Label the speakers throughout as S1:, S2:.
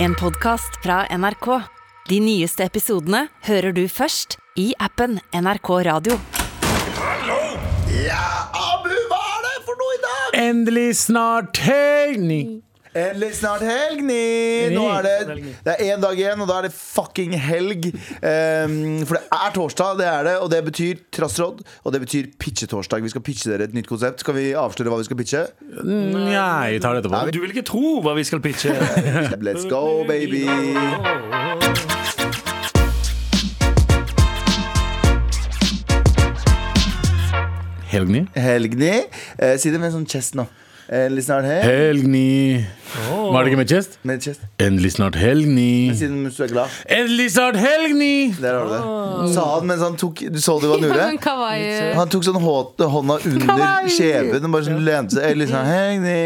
S1: En podcast fra NRK. De nyeste episodene hører du først i appen NRK Radio.
S2: Ja, Abu, hva er det for noe i dag?
S3: Endelig snart helg!
S2: Endelig Eh, snart helg, Ni. Nå er det, det er én dag igjen, og da er det fucking helg. Ehm, for det er torsdag, det er det, og det betyr trassråd. Og det betyr pitchetorsdag. Vi skal pitche dere et nytt konsept. Skal vi avsløre hva vi skal pitche?
S3: Nei, Mm, vi tar det etterpå.
S4: Du vil ikke tro hva vi skal pitche.
S2: Let's go, baby!
S3: Helgny.
S2: Helgni. Eh, si det med en sånn chest nå. Endelig snart helg.
S3: Helgny. Var det ikke med chest?
S2: Med chest.
S3: Endelig snart helgny.
S2: Si det mens du er glad.
S3: Endelig snart helgny!
S2: Der har du det. Sa han mens han tok Du så det var Nure?
S5: Sånn kawaii.
S2: Han tok sånn hå- hånda under kjeven og bare sånn lente seg Ellie sa, «Hei, Ni».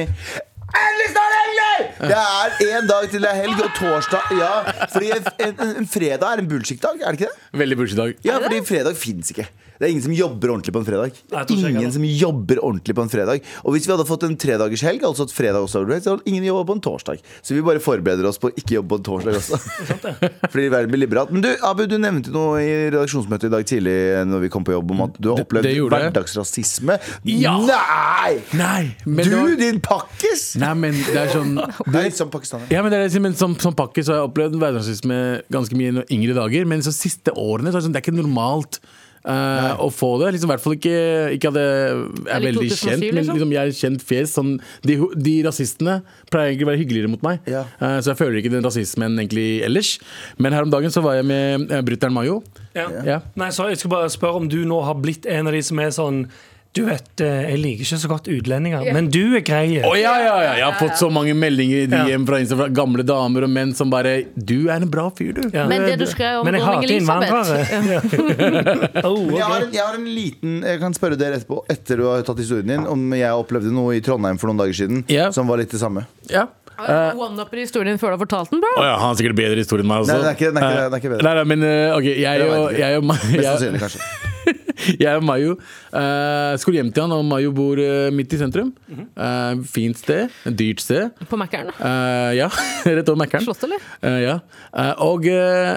S2: Ellie sa, «Ellie!» Det er én dag til det er helg, og torsdag Ja, fordi en, en, en fredag er en bullshit-dag, er det ikke det?
S3: Veldig bursdag.
S2: Ja, fordi fredag fins ikke. Det er ingen som jobber ordentlig på en fredag. Det
S4: Nei, jeg
S2: er
S4: tror ikke jeg
S2: ingen
S4: kan.
S2: som jobber ordentlig på en fredag Og hvis vi hadde fått en tredagers helg, altså at fredag også var great, så hadde ingen jobba på en torsdag. Så vi bare forbereder oss på å ikke jobbe på en torsdag også. Fordi verden blir liberalt. Men du, Abu, du nevnte noe i redaksjonsmøtet i dag tidlig eh, når vi kom på jobb, om at du har opplevd
S3: det gjorde jeg.
S2: hverdagsrasisme.
S3: Ja.
S2: Nei!
S3: Nei, men det
S2: Du,
S3: var-
S2: din pakkis!
S3: Nei, men det er sånn
S2: Nei, som pakistaner.
S3: ja, men det er det, jeg sier, men som, som pakke så har jeg opplevd hverdagsrasisme ganske mye i yngre dager. Men så siste årene så er det, sånn, det er ikke normalt eh, å få det. Liksom, I hvert fall ikke, ikke at det er
S5: Eller
S3: veldig
S5: 2007,
S3: kjent. Men
S5: liksom.
S3: liksom, jeg er kjent fjes. Sånn, de, ho- de rasistene pleier egentlig å være hyggeligere mot meg.
S2: Ja.
S3: Eh, så jeg føler ikke den rasismen egentlig ellers. Men her om dagen så var jeg med uh, brutter'n Mayo.
S4: Ja.
S3: Ja.
S4: Nei, så Jeg skal bare spørre om du nå har blitt en av de som er sånn Du vet, eh, jeg liker ikke så godt utlendinger, men du er grei.
S3: Å ja, ja, ja! Jeg har fått så mange meldinger i DM fra Instagram fra gamle damer og menn som bare 'Du er en bra fyr, du'.
S4: Ja.
S5: Men det du skrev om
S4: Men jeg
S5: dronning
S4: hater
S5: Elisabeth
S4: innvandrere. Ja. oh,
S2: Men Jeg har,
S4: ok.
S2: en, jeg har en liten Jeg kan spørre dere etterpå, etter du har tatt historien din, om jeg opplevde noe i Trondheim for noen dager siden
S3: Ja.
S2: som var litt det samme.
S3: Ja. Eh,
S5: One-upper i historien din før du har fortalt
S3: Å
S5: den, bro.
S3: ja, han har sikkert bedre historie enn meg også.
S2: Nei, det er ikke- det er ikke- det er ikke bedre.
S3: Nei, nei, men eh, ok, jeg
S2: Det vet
S3: og,
S2: jeg ikke.
S3: jeg og, Ma-
S2: Mest
S3: jeg,
S2: sannsynlig, kanskje.
S3: jeg og Mayo eh, skulle hjem til han, og Mayo bor eh, midt i sentrum. Eh, fint sted, dyrt sted.
S5: På Mækkern.
S3: Eh, ja, rett over Mækkern.
S5: Slott, eller?
S3: Eh, ja. Eh, og eh,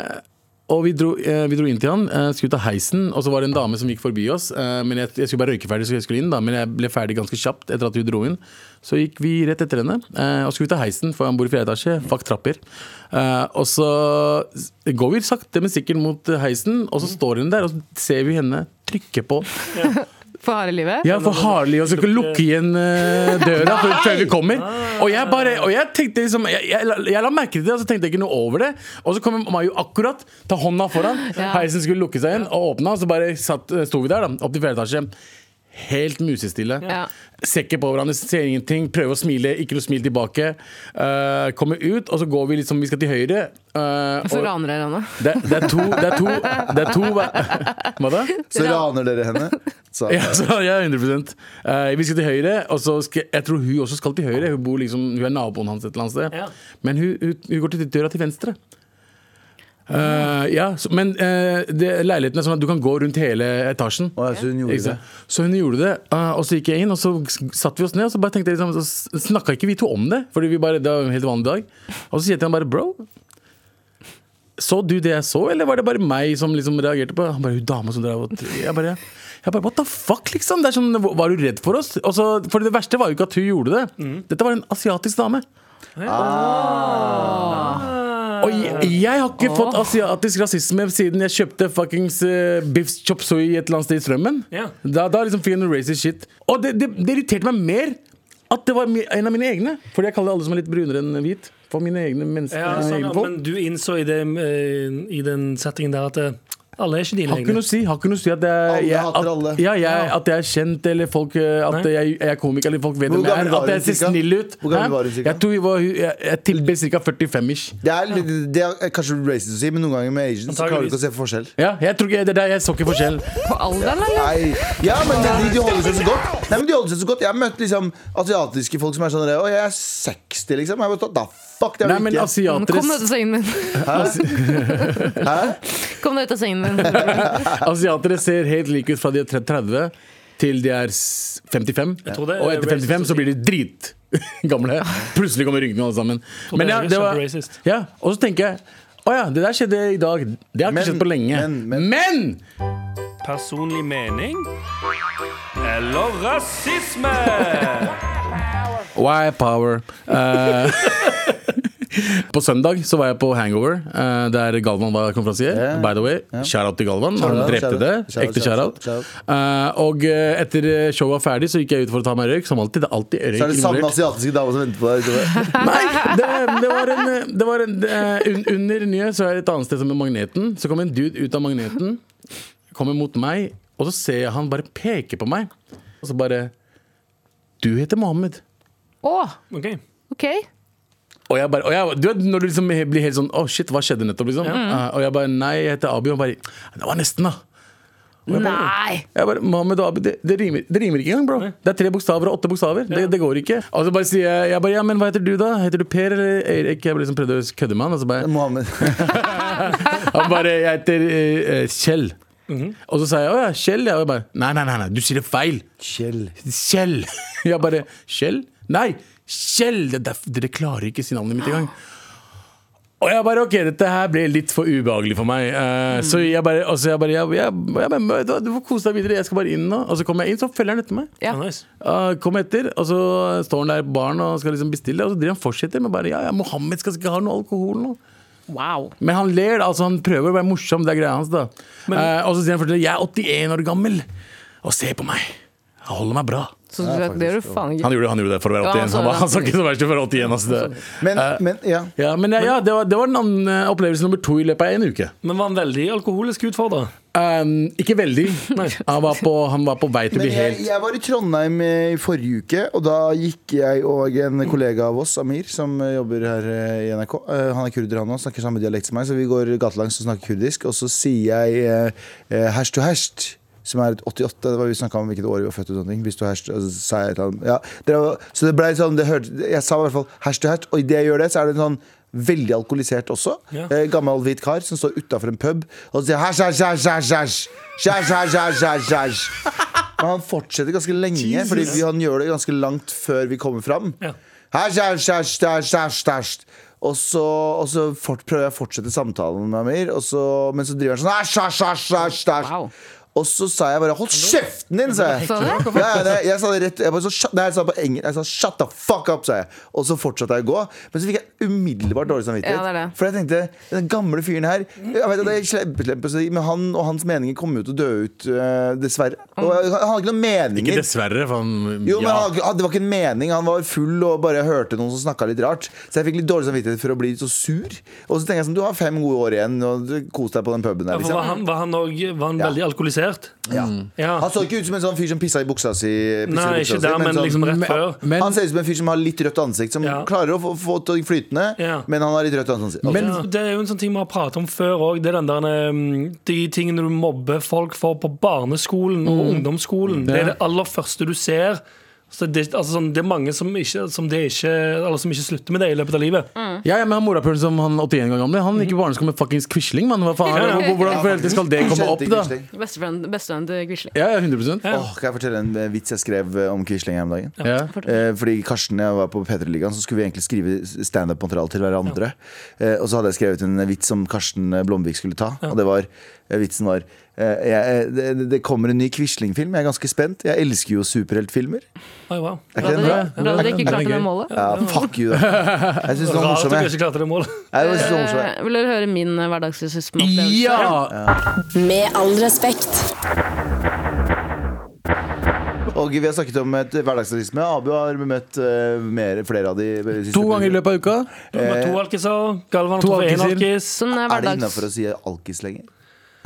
S3: og vi, dro, eh, vi dro inn til han, eh, skulle ta heisen, og så var det en dame som gikk forbi oss. eh, men jeg, jeg skulle bare røyke ferdig, så jeg skulle inn da, men jeg ble ferdig ganske kjapt etter at hun dro inn. Så gikk vi rett etter henne, eh, og skulle ta heisen, for han bor i fjerde etasje. Fuck trapper. Eh, og så s- går vi sakte, men sikkert mot eh, heisen, og så står hun der, og så ser vi henne trykke på.
S5: For harde livet.
S3: Ja, for Harley og så skal lukke igjen eh, døra før, før vi kommer.
S5: Ah.
S3: Og jeg bare, og jeg tenkte liksom jeg, jeg, la- jeg la merke til det, og så tenkte jeg ikke noe over det. Og så kom Mayo akkurat, ta hånda foran.
S5: Ja.
S3: Heisen skulle lukke seg igjen, og åpna, og så bare satt, sto vi der, da, opp til fjerde etasje. Helt musestille.
S5: Ja.
S3: Ser ikke på hverandre, ser ingenting. Prøver å smile, ikke noe smil tilbake. Eh, kommer ut, og så går vi liksom Vi skal til høyre. eh,
S5: Og så
S3: og
S5: raner dere henne.
S3: det, det er to Det er to, det er to Hva da?
S2: Så raner dere henne. Så.
S3: Ja, så jeg er 100 Eh, Vi skal til høyre, og så skal, jeg tror hun også skal til høyre. Hun, bor liksom, hun er naboen hans et eller annet sted.
S4: Ja.
S3: Men hun, hun, hun går til døra til venstre. Eh, ja, så, men eh, det, leiligheten er sånn at du kan gå rundt hele etasjen.
S2: Å, ja, så hun gjorde
S3: Ikke
S2: det.
S3: sant? Så hun gjorde det, eh, og så gikk jeg inn, og så s- satt vi oss ned, og så bare tenkte jeg liksom, så snakka ikke vi to om det, fordi vi bare, det var en helt vanlig dag. Og så sier jeg til han bare, bro, så du det jeg så, eller var det bare meg som liksom reagerte på det? Han bare, hun dama som drev og jeg bare, jeg bare, what the fuck, liksom? Det er sånn, var du redd for oss? Og så, for det verste var jo ikke at hun gjorde det. Dette var en asiatisk dame. Og jeg, jeg har ikke fått asiatisk rasisme siden jeg kjøpte fuckings eh, biff chop soy et eller annet sted i Strømmen.
S4: Ja.
S3: Da, da er liksom fyren noe racist shit. Og det, det, det irriterte meg mer at det var mi- en av mine egne. Fordi jeg kaller alle som er litt brunere enn hvit, for mine egne mennesker.
S4: Ja,
S3: mine
S4: sånn,
S3: egne
S4: ja,
S3: folk.
S4: men du innså i, det, eh, i den settingen der at eh, alle er ikke dine
S3: Har ikke
S4: egne.
S3: noe å si. Har ikke noe å si at jeg,
S2: Alle
S3: jeg,
S2: hater
S3: at,
S2: alle.
S3: Ja, jeg, at jeg er kjent, eller folk, eh, at
S4: Nei.
S3: jeg, jeg er komiker, eller folk
S2: Hvor
S3: vet hvem jeg
S2: gammel
S3: er.
S2: var
S3: At jeg
S2: hun
S3: ser
S2: cirka?
S3: snill ut.
S2: Hvor gammel
S3: Hæ?
S2: var hun cirka?
S3: Jeg tror vi var, jeg, jeg tilbød ca. 45-ish.
S2: Det er, litt- det er kanskje racist å si, men noen ganger med Asians så klarer du ikke å se forskjell.
S3: Ja, jeg tror ikke, det der, jeg så ikke forskjell.
S5: På alderen, eller?
S2: Nei, ja, men de, de holder seg så godt. Nei, men de holder seg så godt Jeg har møtt liksom, asiatiske folk som er sånn Å, jeg er 60, liksom. Jeg bare, sånn, da fuck, det er
S3: Nei,
S2: du
S3: men
S2: ikke.
S3: asiatere
S5: Kom deg ut av sengen min. Kom deg ut av sengen min.
S3: Asiatere ser helt like ut fra de er 30 til de er s- 55.
S4: tror det er
S3: Og etter
S4: racist å
S3: 55 så
S4: si.
S3: blir de drit gamle. Plutselig kommer rynkene alle sammen.
S4: Tror det er racist.
S3: ja, og så tenker jeg å ja, det der skjedde i dag. Det har ikke
S2: Men-
S3: skjedd på lenge.
S2: men- men-
S3: men
S6: Personlig mening eller rasisme?
S3: Why power? Eh, på søndag så var jeg på Hangover, eh, der Galvan var konferansier.
S2: Ja.
S3: By the way, shout-out til Galvan. Han
S2: Shout-out,
S3: drepte
S2: shout-out,
S3: det.
S2: shout-out,
S3: Ekte shout-out.
S2: shout-out.
S3: Eh, og eh, etter eh, showet var ferdig, så gikk jeg ut for å ta meg røyk. Som alltid. Det er alltid røyk
S2: Så er det samme
S3: involvert.
S2: asiatiske dame som venter på deg. utover.
S3: Nei, det, det var en, eh, det var en eh, un, Under nye så er det et annet sted som er Magneten. Så kom en dude ut av Magneten, kommer mot meg, og så ser jeg han bare peker på meg. Og så bare Du heter Mohammed.
S5: Å,
S4: Ok.
S5: OK.
S3: Og jeg bare, og jeg, du vet når du liksom blir helt sånn Å shit, hva skjedde nettopp liksom Eh, Og jeg bare, nei, jeg heter Abi Og han bare, det var nesten da
S5: Nei!
S3: Jeg bare, Mohammed og Abi, det, det, rimer, det rimer ikke engang bro Det er tre bokstaver og åtte bokstaver, det, det går ikke Og så bare sier jeg, jeg bare, ja, men hva heter du da? Heter du Per eller Erik? Jeg bare liksom prøvde å kødde med han Og så bare,
S2: Mohammed.
S3: han bare, jeg heter eh, eh, Kjell Og så sa jeg, åja, Kjell Jeg bare, nei, nei, nei, nei, du sier det feil
S2: Kjell.
S3: Kjell. Jeg bare Kjell? Nei, Kjell! Det er derfor- Dere klarer ikke å si navnet mitt engang. Og jeg bare, ok, dette her ble litt for ubehagelig for meg. Eh, Så jeg bare, altså jeg bare jeg, jeg, jeg, bare, vet du hva, Du får kose deg videre, jeg skal bare inn nå. Og så kommer jeg inn, så følger han etter meg.
S5: Ja.
S4: Ja, nice.
S3: Uh, kom etter, og så står han der på baren og skal liksom bestille, og så driver han fortsetter med bare Ja, ja, Mohammed skal ikke ha noe alkohol nå.
S5: Wow.
S3: Men han ler, altså han prøver å være morsom, det er greia hans. da Eh, Og så sier han fortsatt 'Jeg er 81 år gammel, og se på meg. Jeg holder meg bra'.
S5: Så du, det gjør du faen ikke.
S3: Han gjorde, han gjorde det for å være
S5: Ja,
S3: 81.
S5: altså,
S3: han, var, han sa
S5: ja.
S3: ikke så verst for å være 81. Altså, det.
S2: Men,
S3: Eh,
S2: men ja.
S3: ja, men ja, ja, det, var, det var den andre opplevelse nummer to i løpet av en uke.
S4: Men var han veldig alkoholisk utfordra?
S3: Um, ikke veldig. Han var, på, han var på vei til å
S2: Men
S3: bli
S2: jeg,
S3: helt
S2: jeg var i Trondheim eh, i forrige uke, og da gikk jeg og en kollega av oss, Amir, som eh, jobber her eh, i NRK eh, Han er kurder, han òg, snakker samme dialekt som meg, så vi går gatelangs og snakker kurdisk. Og så sier jeg eh, eh, herst to herst, som er et 88, det var vi snakka om hvilket år vi var født. og sånne ting, hvis du herst, og så sa jeg et eller annet. Ja, det var, så det ble sånn, det hørte, jeg sa i hvert fall herst to herst, og idet jeg gjør det, så er det en sånn Veldig alkoholisert også.
S4: Ja.
S2: Eh, gammel hvit kar som står utafor en pub og sier «Hasj, hasj, hasj, hasj, hasj. Hasj, hasj, hasj, hasj, hasj». Men han fortsetter ganske lenge, fordi vi, han gjør det ganske langt før vi kommer fram.
S4: Ja.
S2: Hasj, hasj, hasj, hasj, hasj, hasj. Og så, og så fort, prøver jeg å fortsette samtalen med Amir, og så, men så driver han sånn hasj, hasj, hasj, hasj, hasj.
S5: Wow.
S2: Og så sa jeg bare 'hold kjeften din', sa jeg.
S5: Sa du det?
S2: Ja, ja, det, jeg sa det rett jeg bare, så, shut- Nei, jeg sa det på engelsk. Jeg sa 'shut the fuck up', sa jeg. Og så fortsatte jeg å gå. Men så fikk jeg umiddelbart dårlig samvittighet.
S5: Ja, det er det.
S2: For jeg tenkte, den gamle fyren her Jeg vet at det er sleppeslepp å si, Men han og hans meninger kommer jo til å dø ut eh, Dessverre Og han han hadde ikke noen
S3: Ikke
S2: meninger
S3: dessverre, for han
S2: jo, men
S3: ja.
S2: han, han- det var ikke en mening Han var full og bare hørte noen som snakket litt rart Så jeg fikk litt dårlig samvittighet for å bli så sur Og så tenker jeg sånn, du har fem gode år igjen Og du koser deg på den puben der
S4: Var
S2: liksom.
S4: han, var han, også- var han
S2: Ja.
S4: veldig alkoholisert?
S2: ja.
S4: Ja.
S2: Han så ikke ut som en sånn fyr som pisset i buksa si pisser i
S4: Nei,
S2: buksa
S4: ikke
S2: si,
S4: der, men
S2: sånn-
S4: liksom rett før.
S3: men,
S2: Han ser ut som en fyr som har litt rødt ansikt Som
S4: Ja.
S2: klarer å få, få til å flytende
S4: Ja.
S2: Men han har litt rødt ansikt
S3: Men-
S4: ja, det er jo en sånn ting vi har pratet om før òg. Det er den der, um, de tingene du mobber folk for på barneskolen og ungdomsskolen. Det er det aller første du ser. Så det, altså sånn, det er mange som ikke, som, det ikke, eller som ikke slutter med det i løpet av livet.
S3: ja, ja, men han morapuleren som han 81 år gamle, han gikk jo barneskolen med fuckings Quisling, mann. Hva faen?
S4: Ja, ja.
S3: Hvor- Hvordan for helvete skal det komme opp, da?
S5: Bestevenn bestevenn til Quisling.
S3: Ja, ja, 100
S2: Åh, kan jeg fortelle en eh, vits jeg skrev eh, om Quisling her om dagen?
S3: ja.
S2: Eh, fordi Karsten og jeg var på P3-ligaen, så skulle vi egentlig skrive standup-materiale til hverandre. Eh, og så hadde jeg skrevet en vits som Karsten eh, Blomvik skulle ta. Og det var, eh, vitsen var eh, jeg, det, det kommer en ny Quisling-film, jeg er ganske spent. Jeg elsker jo superheltfilmer.
S4: Oi, wow.
S2: Er
S5: Bra
S2: ikke den bra?
S5: dere ikke klarte det målet.
S2: Ja, fuck you, da. Jeg syns den var
S4: Rart at
S2: morsom.
S4: du
S2: Jeg,
S4: ikke klarte det målet.
S2: jeg synes den var morsom, jeg.
S5: Eh, Vil dere høre min eh, hverdagsrasismeopplevelse?
S3: ja!
S1: Med all respekt.
S2: Og vi har snakket om et hverdagsrealisme. Abu har møtt eh, mer, flere av de siste
S3: To ganger i løpet av uka.
S4: Du har to
S2: Eh,
S4: alkiser. Galvan
S3: to
S4: har truffet én
S3: alkiser.
S4: alkis.
S5: Sånn
S2: Er
S5: er
S2: det
S5: hverdags...
S2: innafor å si alkis lenger?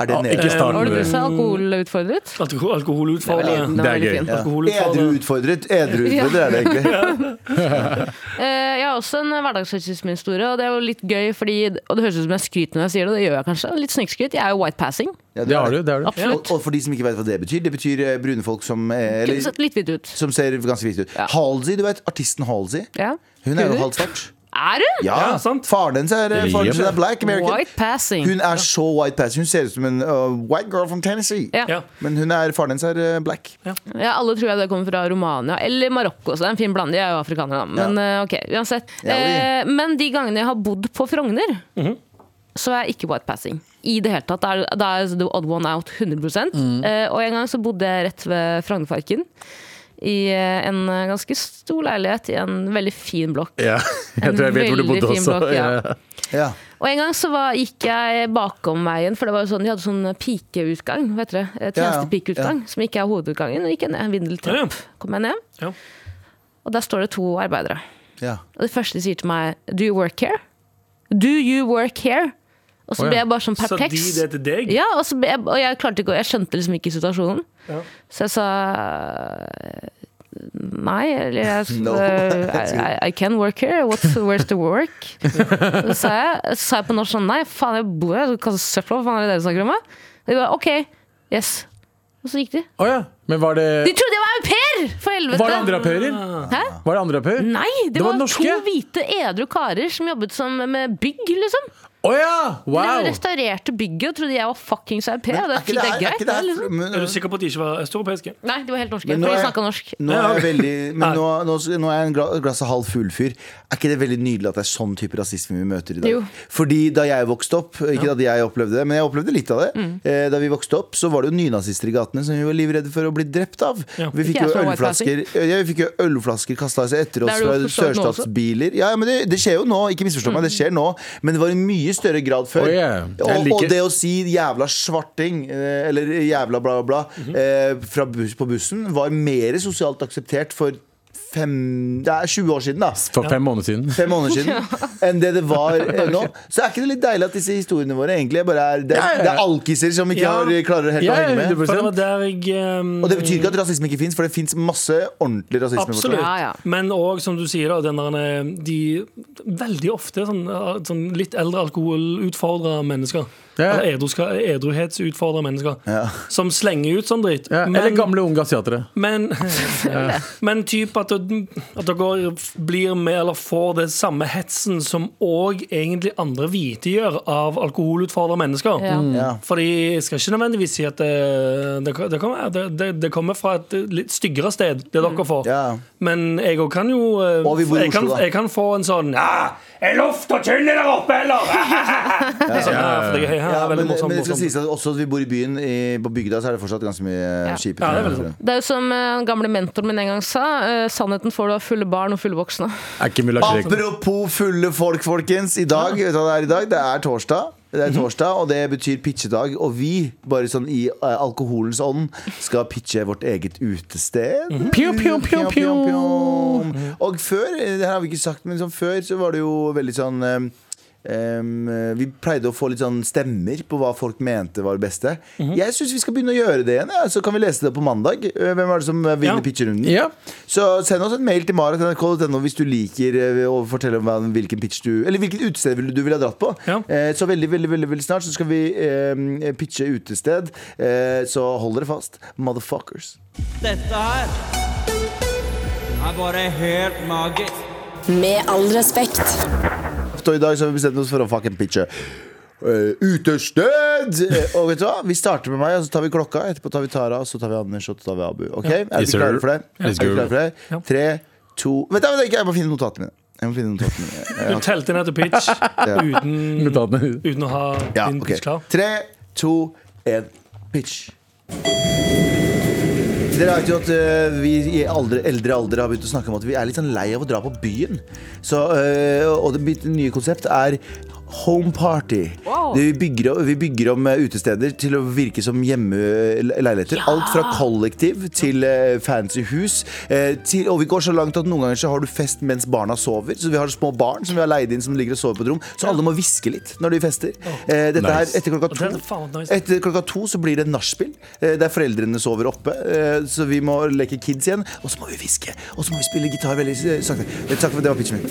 S2: Er det
S3: Ja,
S2: nede?
S3: ikke start
S5: Eh, Var
S3: med
S5: det du
S3: det.
S5: som er alkoholutfordret?
S4: Alko- Alkoholutfordrende.
S5: Den
S3: Det
S5: var
S3: er
S5: veldig
S3: gøy.
S5: fin.
S4: Alkoholutfordrende.
S2: Edru utfordret. Edru utfordret er det egentlig.
S5: Eh, jeg har også en hverdagsrasismehistorie, og det er jo litt gøy, fordi, og det høres ut som jeg skryter når jeg sier det, og det gjør jeg kanskje. Litt snikskryt. Jeg er jo white passing.
S2: Ja,
S3: Det har du. det har du
S5: Absolutt.
S2: Og, og for de som ikke vet hva det betyr, det betyr eh, brune folk som eh, eller,
S5: Sett litt hvitt ut.
S2: som ser ganske hvite ut.
S5: Ja.
S2: Halsey, du vet. Artisten Halsey.
S5: Ja.
S2: Hun er jo
S5: Kuler.
S2: halvt svart.
S5: Er du?
S2: Ja,
S4: Ja, sant.
S2: Faren hennes er, eh, faren
S3: Yep.
S2: hennes er black American.
S5: White passing.
S2: Hun er så white pass. Hun ser ut som en uh, white girl from Tennessee.
S5: Ja.
S4: Ja.
S2: Men hun er, faren hennes er eh, black.
S5: Ja, alle tror jeg det kommer fra Romania eller Marokko, så det er en fin blanding. De er jo afrikanere, da. Men eh, ok, uansett.
S2: Ja, vi- Mhm.
S5: Eh, men de gangene jeg har bodd på Frogner, så er jeg ikke white passing. I det hele tatt. Da er, da er the odd one out 100
S2: Mhm.
S5: Eh, Og en gang så bodde jeg rett ved Frognerparken. I eh, en eh, ganske stor leilighet i en veldig fin blokk.
S3: Ja, jeg tror jeg vet hvor du
S5: veldig
S3: bodde
S5: fin
S3: også.
S5: blokk, ja.
S3: Ja.
S2: Ja.
S5: Og en gang så var, gikk jeg bakom veien, for det var jo sånn, de hadde sånn pikeutgang, vet dere, Eh,
S2: Ja, ja.
S5: tjenestepikeutgang, som ikke er hovedutgangen, og gikk jeg ned en vindeltrapp, kom jeg ned,
S4: Ja.
S5: og der står det to arbeidere.
S2: Ja.
S5: Og det første de sier til meg, do you work here? Do you work here? Og
S3: Å,
S5: så
S3: ja.
S5: ble jeg bare sånn
S4: Sa de
S5: perpleks.
S4: det til deg?
S5: Ja, og, så ble jeg, og jeg klarte ikke, å- jeg skjønte liksom ikke situasjonen.
S4: Ja.
S5: Så jeg sa nei, eller jeg,
S2: No.
S5: I, I, I can work here, What's, where's the work? Så sa jeg, så sa jeg på norsk sånn, nei, faen, jeg bor her, hva slags søppel, hva faen er det dere snakker om? da?» Og de bare, ok, yes. Og så gikk de.
S3: Å ja. Men var det,
S5: De trodde jeg var au pair, for helvete!
S3: var det andre au pairer?
S5: Hæ?
S3: Var det andre au pair?
S5: Nei, det,
S3: Det var
S5: var, to
S3: norske?
S5: hvite edru karer som jobbet som, med bygg, liksom.
S3: Å ja!
S5: Wow.
S3: Wow!
S5: Restaurerte bygget og trodde jeg var fuckings au pair.
S2: Men
S5: og Det
S2: er
S5: er
S2: ikke her-
S5: fint, det er greit.
S2: ikke
S5: det,
S2: her-
S5: liksom.
S2: men, eh,
S4: Er du sikker på at de ikke var østeuropeiske?
S5: Nei, de var helt norske.
S2: Men nå
S5: For de
S2: er-
S5: snakka norsk.
S2: Nå er jeg
S4: Ja,
S2: veldig Men
S4: Nei.
S2: nå, nå, nå er jeg en gla- glass og halv full fyr. Er ikke det veldig nydelig at det er sånn type rasisme vi møter i dag?
S5: Jo.
S2: Fordi da jeg vokste opp, ikke at jeg opplevde det, men jeg opplevde litt av det.
S5: Mm.
S2: Eh, da vi vokste opp, så var det jo nynazister i gatene som vi var livredde for å bli drept av. Vi fikk jo
S5: Ikke jeg som var
S2: ølflasker ja, Vi fikk jo ølflasker kasta etter oss
S5: Det er
S2: fra
S5: jo forstått nå også. Mm.
S2: sørstatsbiler. Ja, men det, det skjer jo nå, ikke misforstå meg, det skjer nå, men det var i mye større grad før.
S3: Å, ja. Jeg
S2: og,
S3: liker-
S2: og det å si jævla svarting eh, eller jævla bla, bla, bla eh, fra bus, på bussen var mer sosialt akseptert for fem, det er 20 år siden, da.
S3: For fem måneder siden.
S2: Fem måneder siden. Enn det det var eh, nå. Så er ikke det litt deilig at disse historiene våre egentlig bare er Det,
S3: Ja, ja, ja.
S2: det er alkiser som ikke
S4: Ja.
S2: har, eh, klarer helt
S3: Ja,
S2: å henge med.
S3: 100%.
S4: For det var der jeg um,
S2: Og det betyr ikke at rasisme ikke fins, for det fins masse ordentlig rasisme. forstår
S4: Absolutt.
S2: jeg.
S5: Ja, ja.
S4: Men òg, som du sier, da, den der, eh, de veldig ofte sånn, sånn litt eldre alkoholutfordra mennesker.
S3: Ja.
S4: Eller edruska- edruhetsutfordra mennesker.
S2: Ja.
S4: Som slenger ut sånn dritt.
S3: Ja, eller gamle unge asiatere.
S4: men, men typ at, det- at dere blir med eller får det samme hetsen som òg egentlig andre hvite gjør av alkoholutfordra mennesker.
S5: Ja. Mm.
S2: Ja.
S4: Fordi jeg skal ikke nødvendigvis si at det, det, det, kommer, det, det, det kommer fra et litt styggere sted, det dere får.
S2: Ja.
S4: Men jeg òg kan jo eh,
S2: Og vi bor i
S4: jeg, kan,
S2: Oslo, da.
S4: jeg kan få en sånn ah, Er luft og tynn der oppe, eller? sånn, ja, for det er ja,
S2: Ja, men,
S4: veldig morsomt.
S2: men det skal
S4: morsomt.
S2: sies at også at vi bor i byen, i, på bygda, så er det fortsatt ganske mye eh, kjipe
S4: Ja, det er
S2: ting.
S4: veldig sant.
S5: Det er jo som eh, den gamle mentoren min en gang sa, eh, sannheten får du av fulle barn og fulle voksne.
S3: Er ikke mulla Krekar.
S2: Apropos fulle folk, folkens. I dag, vet du hva det er i dag? Det er torsdag. Det er torsdag, og det betyr pitchedag. Og vi, bare sånn i eh, alkoholens ånd, skal pitche vårt eget utested.
S3: Pjo, pjo, pjo,
S2: Pjom, pjom, pjom. Og før, eh, det her har vi ikke sagt, men sånn før så var det jo veldig sånn em, em, eh, vi pleide å få litt sånn stemmer på hva folk mente var det beste. Jeg syns vi skal begynne å gjøre det igjen. Ja. Så kan vi lese det på mandag. Eh, Hvem er det som eh, vinner
S4: Ja.
S2: pitcherunden?
S3: Ja.
S2: Så send oss en mail til mara.nrk.no hvis du liker eh, å fortelle om hva- hvilken pitch du Eller hvilket utested vil- du ville ha dratt på.
S4: Ja.
S2: Eh, Så veldig, veldig, veldig, veldig snart så skal vi eh, pitche utested. Eh, Så hold dere fast. Motherfuckers.
S7: Dette her er bare helt magisk.
S8: Med all respekt.
S2: Og i dag så har vi bestemt oss for å fucking pitche. eh, utested! Eh, Og vet du hva? Vi starter med meg, og så tar vi klokka. Etterpå tar vi Tara, og så tar vi Anders, og så tar vi Abu. Ok? Er dere
S3: Yes, sir.
S2: klare for det?
S3: Let's
S2: Er dere
S3: go.
S2: klare for det? Tre, to Vent, da, vent, da, ikke- jeg må finne notatene mine. Jeg må finne notatene mine.
S4: Du telte ned til pitch uten,
S3: Notatene.
S4: uten å ha
S2: Ja,
S4: din
S2: ok
S4: pitch klar.
S2: Tre, to, en, pitch dere vet jo at eh, vi i aldre, eldre alder har begynt å snakke om at vi er litt sånn lei av å dra på byen. Så, eh, og det mitt nye konsept er home party.
S5: Wow.
S2: Det vi, bygger, o- vi bygger om eh, utesteder til å virke som hjemmeleiligheter. Alt fra kollektiv til eh, fancy hus. eh, til, og vi går så langt at noen ganger så har du fest mens barna sover. Så vi har små barn som vi har leid inn som ligger og sover på et rom. Så alle må hviske litt når de fester. Eh, dette
S3: Nice.
S2: her etter klokka
S4: Og
S2: to.
S4: det er faen nice.
S2: Etter klokka to så blir det nachspiel, eh, der foreldrene sover oppe. eh, Så vi må leke kids igjen, og så må vi hviske. Og så må vi spille gitar veldig eh, sakte. Eh, Takk for det var pitchen min.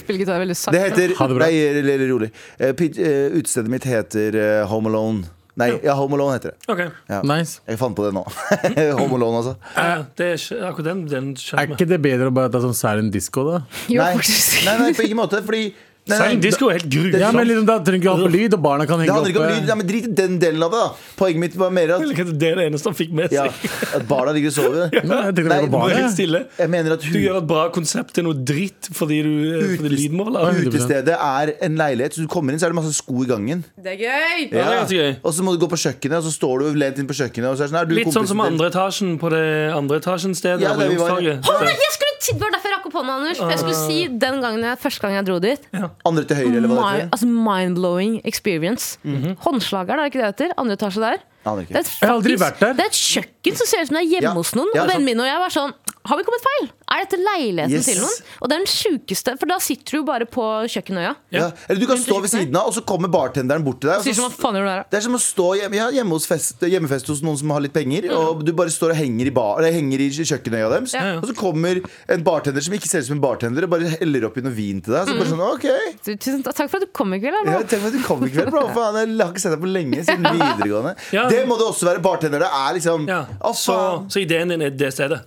S5: Spiller gitar veldig sakte.
S2: Det heter
S3: Ha det bra.
S2: Nei, eller rolig. Eh, pitch- eh, Utestedet mitt heter eh, Home Alone. Nei, ja, Home Alone heter det.
S4: Ok,
S2: Ja.
S3: Nice.
S2: Jeg fant på det nå. Home Alone, altså.
S4: Eh, Det er ikke akkurat den. den skjønner
S3: Er ikke det bedre å bare ta sånn silent disco, da?
S5: Jo,
S2: Nei,
S5: faktisk.
S2: nei, nei på ingen måte. Fordi nei, nei,
S4: Silent disco er helt grusomt.
S3: Ja, men liksom, Da trenger du ikke ha på lyd, og barna kan
S2: Sånn. Det
S3: henge eh.
S2: handler ikke om lyd.
S3: oppe.
S2: Nei, men Drit i den delen av det. da Poenget mitt var mer at,
S4: Det er det eneste han fikk med
S2: ja,
S4: seg.
S2: at barna ligger og sover.
S3: Nei, jeg tenkte
S2: Nei,
S3: bare på
S4: Bare
S3: barna.
S4: helt stille.
S2: Jeg mener at
S4: Du
S2: hu-
S4: gjør et bra konsept til noe dritt fordi du eh, fordi lyden må være lav.
S3: 100%.
S2: utestedet er en leilighet. Så du kommer inn, så er det masse sko i gangen.
S5: Det er gøy!
S4: Ja, det er ganske gøy.
S2: Og så må du gå på kjøkkenet, og så står du lent inn på kjøkkenet. Og så er det sånn, er du
S4: Litt sånn
S2: kompisen
S4: som
S2: din?
S4: andre etasjen på det andre etasjen stedet
S2: Ja,
S4: på
S2: der vi var.
S4: Youngstorget.
S5: Å, nei, jeg skulle til, Det var derfor jeg rakk opp hånda, Anders. For jeg skulle si
S3: Ah.
S5: den gangen jeg, første gang jeg dro dit.
S2: Andre til høyre, eller hva det
S5: My,
S2: heter.
S5: altså Mind-blowing experience. Håndslageren, er det ikke det det heter? Andre etasje der.
S2: Aner
S5: Det er,
S2: ikke.
S5: et
S3: Mhm. Jeg har aldri
S5: fuckings-
S3: vært der.
S5: det er et kjøkken som ser ut som det er hjemme
S2: Ja.
S5: hos noen.
S2: Ja,
S5: og
S2: sant.
S5: vennen min og jeg var sånn Har vi kommet feil? Er dette leiligheten
S2: Yes.
S5: til noen? Og det er den sjukeste, for da sitter du jo bare på kjøkkenøya.
S3: Altså,
S2: Ja. Eller du kan stå ved siden av, og så kommer bartenderen bort til deg.
S5: Og sier
S2: Og
S5: sånn,
S2: så
S5: hva faen gjør du der, da?
S2: Det er som å stå hjemme, ja, hjemme hos fest, hjemmefest hos noen som har litt penger, og du bare står og henger i, bar, eller henger i kjøkkenøya deres.
S5: Ja.
S2: Og så kommer en bartender som ikke ser ut som en bartender, og bare heller oppi noe vin til deg.
S5: Mm.
S2: Så bare sånn, ok
S5: Du, Tusen takk- Takk for at du kom i kveld.
S2: ja,
S5: Arno.
S2: Tenk at du kom i kveld, bro. Faen, jeg har ikke sett deg på lenge siden videregående.
S4: Ja.
S2: Det må det også være bartender. Det er liksom
S4: Ja.
S2: Å,
S4: Så,
S2: faen.
S4: så ideen din er det stedet.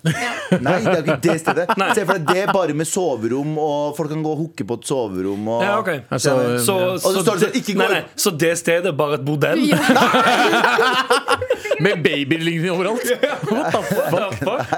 S2: Nei, det er jo ikke det stedet. Se for deg det bare med soverom, og folk kan gå og hooke på et soverom. Og...
S4: Ja, ok.
S3: Altså,
S4: Så,
S2: så står det sånn, ikke gå
S4: nei, nei,
S2: inn.
S4: så det stedet er bare et bordell?
S3: Med babylignende overalt.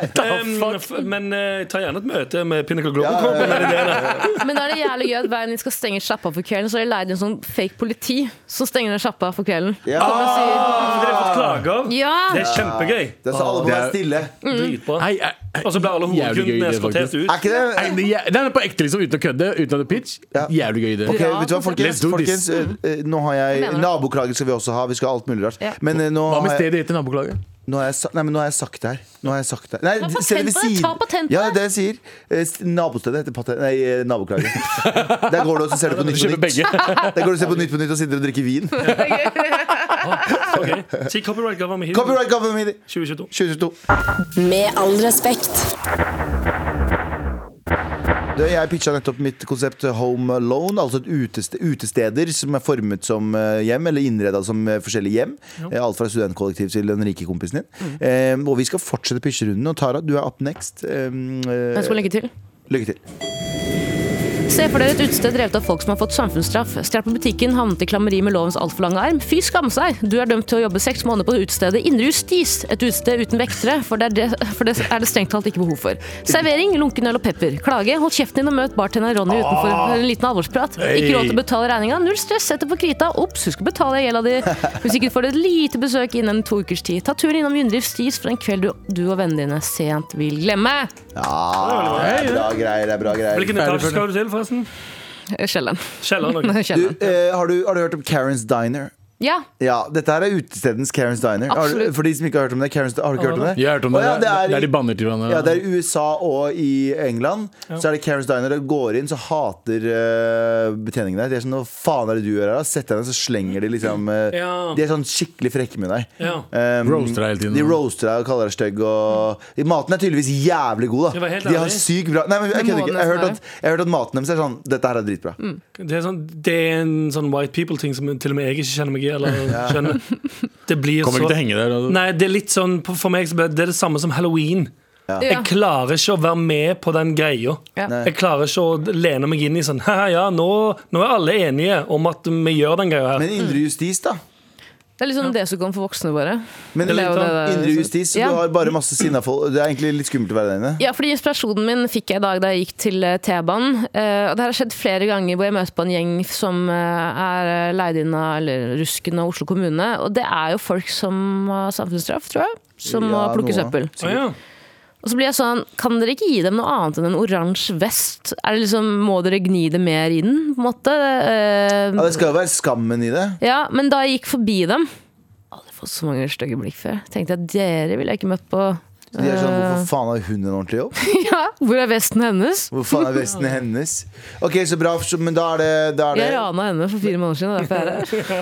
S4: Um, f- men eh, ta gjerne et møte med Pinnacle Global Corp.
S2: ja, ja.
S4: men det er det da.
S5: Men da er det jævlig gøy at hver gang de skal stenge sjappa for kvelden, så har de leid en sånn fake politi som stenger ned sjappa for kvelden.
S2: Ja.
S5: Kommer og sier,
S4: Dere har fått klager.
S5: Ja.
S4: Det er kjempegøy.
S2: Det er så alle må
S3: Det
S2: være
S3: er-
S2: stille.
S4: Dritbra.
S3: Hei, er- er-
S4: Og så blir alle
S3: jævlig gøy
S4: hovedkundene
S3: idé, faktisk.
S4: eskortert ut.
S2: Er ikke det?
S3: Nei, det er jæ- Nei, men på ekte, liksom, uten å kødde, uten å pitch.
S2: Ja.
S3: Jævlig gøy idé.
S2: Ok,
S5: Ja,
S2: vet du hva,
S3: Let's
S2: folkens,
S3: do
S2: folkens
S3: this.
S2: eh, eh, Nå har jeg
S5: Hva mener du?
S2: Naboklager skal vi også ha. Vi skal ha alt mulig rart.
S5: Ja.
S2: Men, eh, nå,
S3: Hva med
S2: har jeg,
S3: stedet heter Nabolaget?
S2: nå, har jeg, sa- nei, men nå har jeg sagt det her. Nå har jeg sagt det her. Nei,
S5: patent
S2: stedet ved
S5: på det, ta
S2: siden-
S5: patent på
S2: Ja,
S5: det.
S2: det er det jeg sier. Eh, s- Nabostedet heter patent... Nei, eh, naboklager. Der går du og så ser du på
S3: Du
S2: Nytt på
S3: kjøper
S2: Nytt.
S3: begge.
S2: Der går du og ser på Nytt på Nytt og sitter og drikker vin.
S4: Ok. Si copyright government hit.
S2: Copyright government
S4: 2022.
S2: 2022.
S8: Med all respekt.
S2: Du, Jeg pitcha nettopp mitt konsept Home Alone, altså et utested, utesteder som er formet som eh, hjem, eller innreda som eh, forskjellige hjem. Eh, Alt fra studentkollektiv til den rike kompisen din. Eh, og vi skal fortsette pitcherunden. Og Tara, du er up next. Eh, eh,
S5: Jeg skal legge til.
S2: lykke til.
S5: Se for dere et utested drevet av folk som har fått samfunnsstraff. Stjal på butikken, havnet i klammeri med lovens altfor lange arm. Fy skamme seg! Du er dømt til å jobbe seks måneder på utestedet Indre Justis. Et utested uten vektere, for det, er det, for det er det strengt talt ikke behov for. Servering, lunken øl og pepper. Klage, hold kjeften din og møt bartender Ronny utenfor for en liten alvorsprat. Ikke råd til å betale regninga, null stress, sett deg på krita. Ops, husk å betale gjelda di. Hvis ikke får du et lite besøk innen to ukers tid. Ta turen innom Indre Justis for en kveld du, du og vennene dine sent vil glemme.
S2: Ja, det er bra greier. det er bra greier
S4: Hvilken etasje skal du til, forresten?
S5: Skjellen.
S4: Kjelleren. ok.
S2: du,
S5: Skjellen.
S2: eh, har, du, har du hørt om Karen's Diner?
S5: Ja.
S2: Ja, Dette her er utestedens Karen's Diner. Har du,
S5: Absolutt.
S2: for de som ikke har hørt om det, Karen's, har du ikke hørt om det?
S3: Jeg har hørt om
S2: Å,
S3: det.
S2: ja,
S3: det
S2: er i-
S3: Der de banner til hverandre.
S2: Ja, det er i USA og i England. Så er det Karen's Diner. Og går inn, så hater eh, betjeningen deg. De er sånn 'Hva faen er det du gjør her?' da? Setter deg ned, så slenger de liksom eh,
S4: Ja.
S2: De er sånn skikkelig frekke med deg.
S4: Ja.
S2: Um,
S3: Roaster deg hele tiden.
S2: De roaster deg og kaller deg stygg. Og... Maten er tydeligvis jævlig god,
S4: Det
S2: da.
S4: var helt
S2: De har
S4: ærlig.
S2: sykt bra Nei, men jeg
S5: Det
S2: kødder
S5: må
S2: ikke.
S5: den
S2: Jeg har hørt
S5: nesten
S2: at, jeg har hørt at maten deres er sånn 'Dette her er dritbra'.
S4: Det er, sånn, det er en sånn white people-ting som til og med jeg ikke kjenner meg i. Eller skjønner Det blir
S3: Kommer ikke til å
S4: så
S3: henge der. Altså.
S4: Nei, det er litt sånn på- For meg så ble det det er det samme som halloween.
S5: ja.
S4: Jeg klarer ikke å være med på den greia.
S5: Ja. Nei.
S4: Jeg klarer ikke å lene meg inn i sånn Haha, ja, nå, nå er alle enige om at vi gjør den greia her.
S2: Men indre justis, da.
S5: Det er liksom det som kommer for voksne våre.
S2: Men
S5: Det er jo det der,
S2: indre
S5: liksom.
S2: justis, så
S5: Ja.
S2: du har bare masse sinna folk. Det er egentlig litt skummelt å være der inne.
S5: Ja, fordi Inspirasjonen min fikk jeg i dag da jeg gikk til eh, T-banen. Eh, og Det her har skjedd flere ganger hvor jeg møter på en gjeng som eh, er eh, leid inn av eller Rusken og Oslo kommune. Og det er jo folk som har samfunnsstraff, tror jeg. Som må
S2: Ja,
S5: plukke
S2: noe.
S5: søppel.
S4: Å, ja.
S5: Og så blir jeg sånn, kan dere ikke gi dem noe annet enn en oransje vest? Er det liksom, Må dere gni det mer inn, på en måte? Eh,
S2: Ja, det skal jo være skammen i det.
S5: Ja, men da jeg gikk forbi dem Aldri fått så mange stygge blikk før. Tenkte jeg dere ville jeg ikke møtt på.
S2: De er sånn, Hvorfor faen har hun en ordentlig jobb?
S5: Ja, Hvor er vesten hennes?
S2: Hvor faen er vesten hennes? Ok, så bra, så- men da er det, da er
S5: Jeg
S2: det
S5: rana henne for fire måneder siden. og Derfor er jeg her.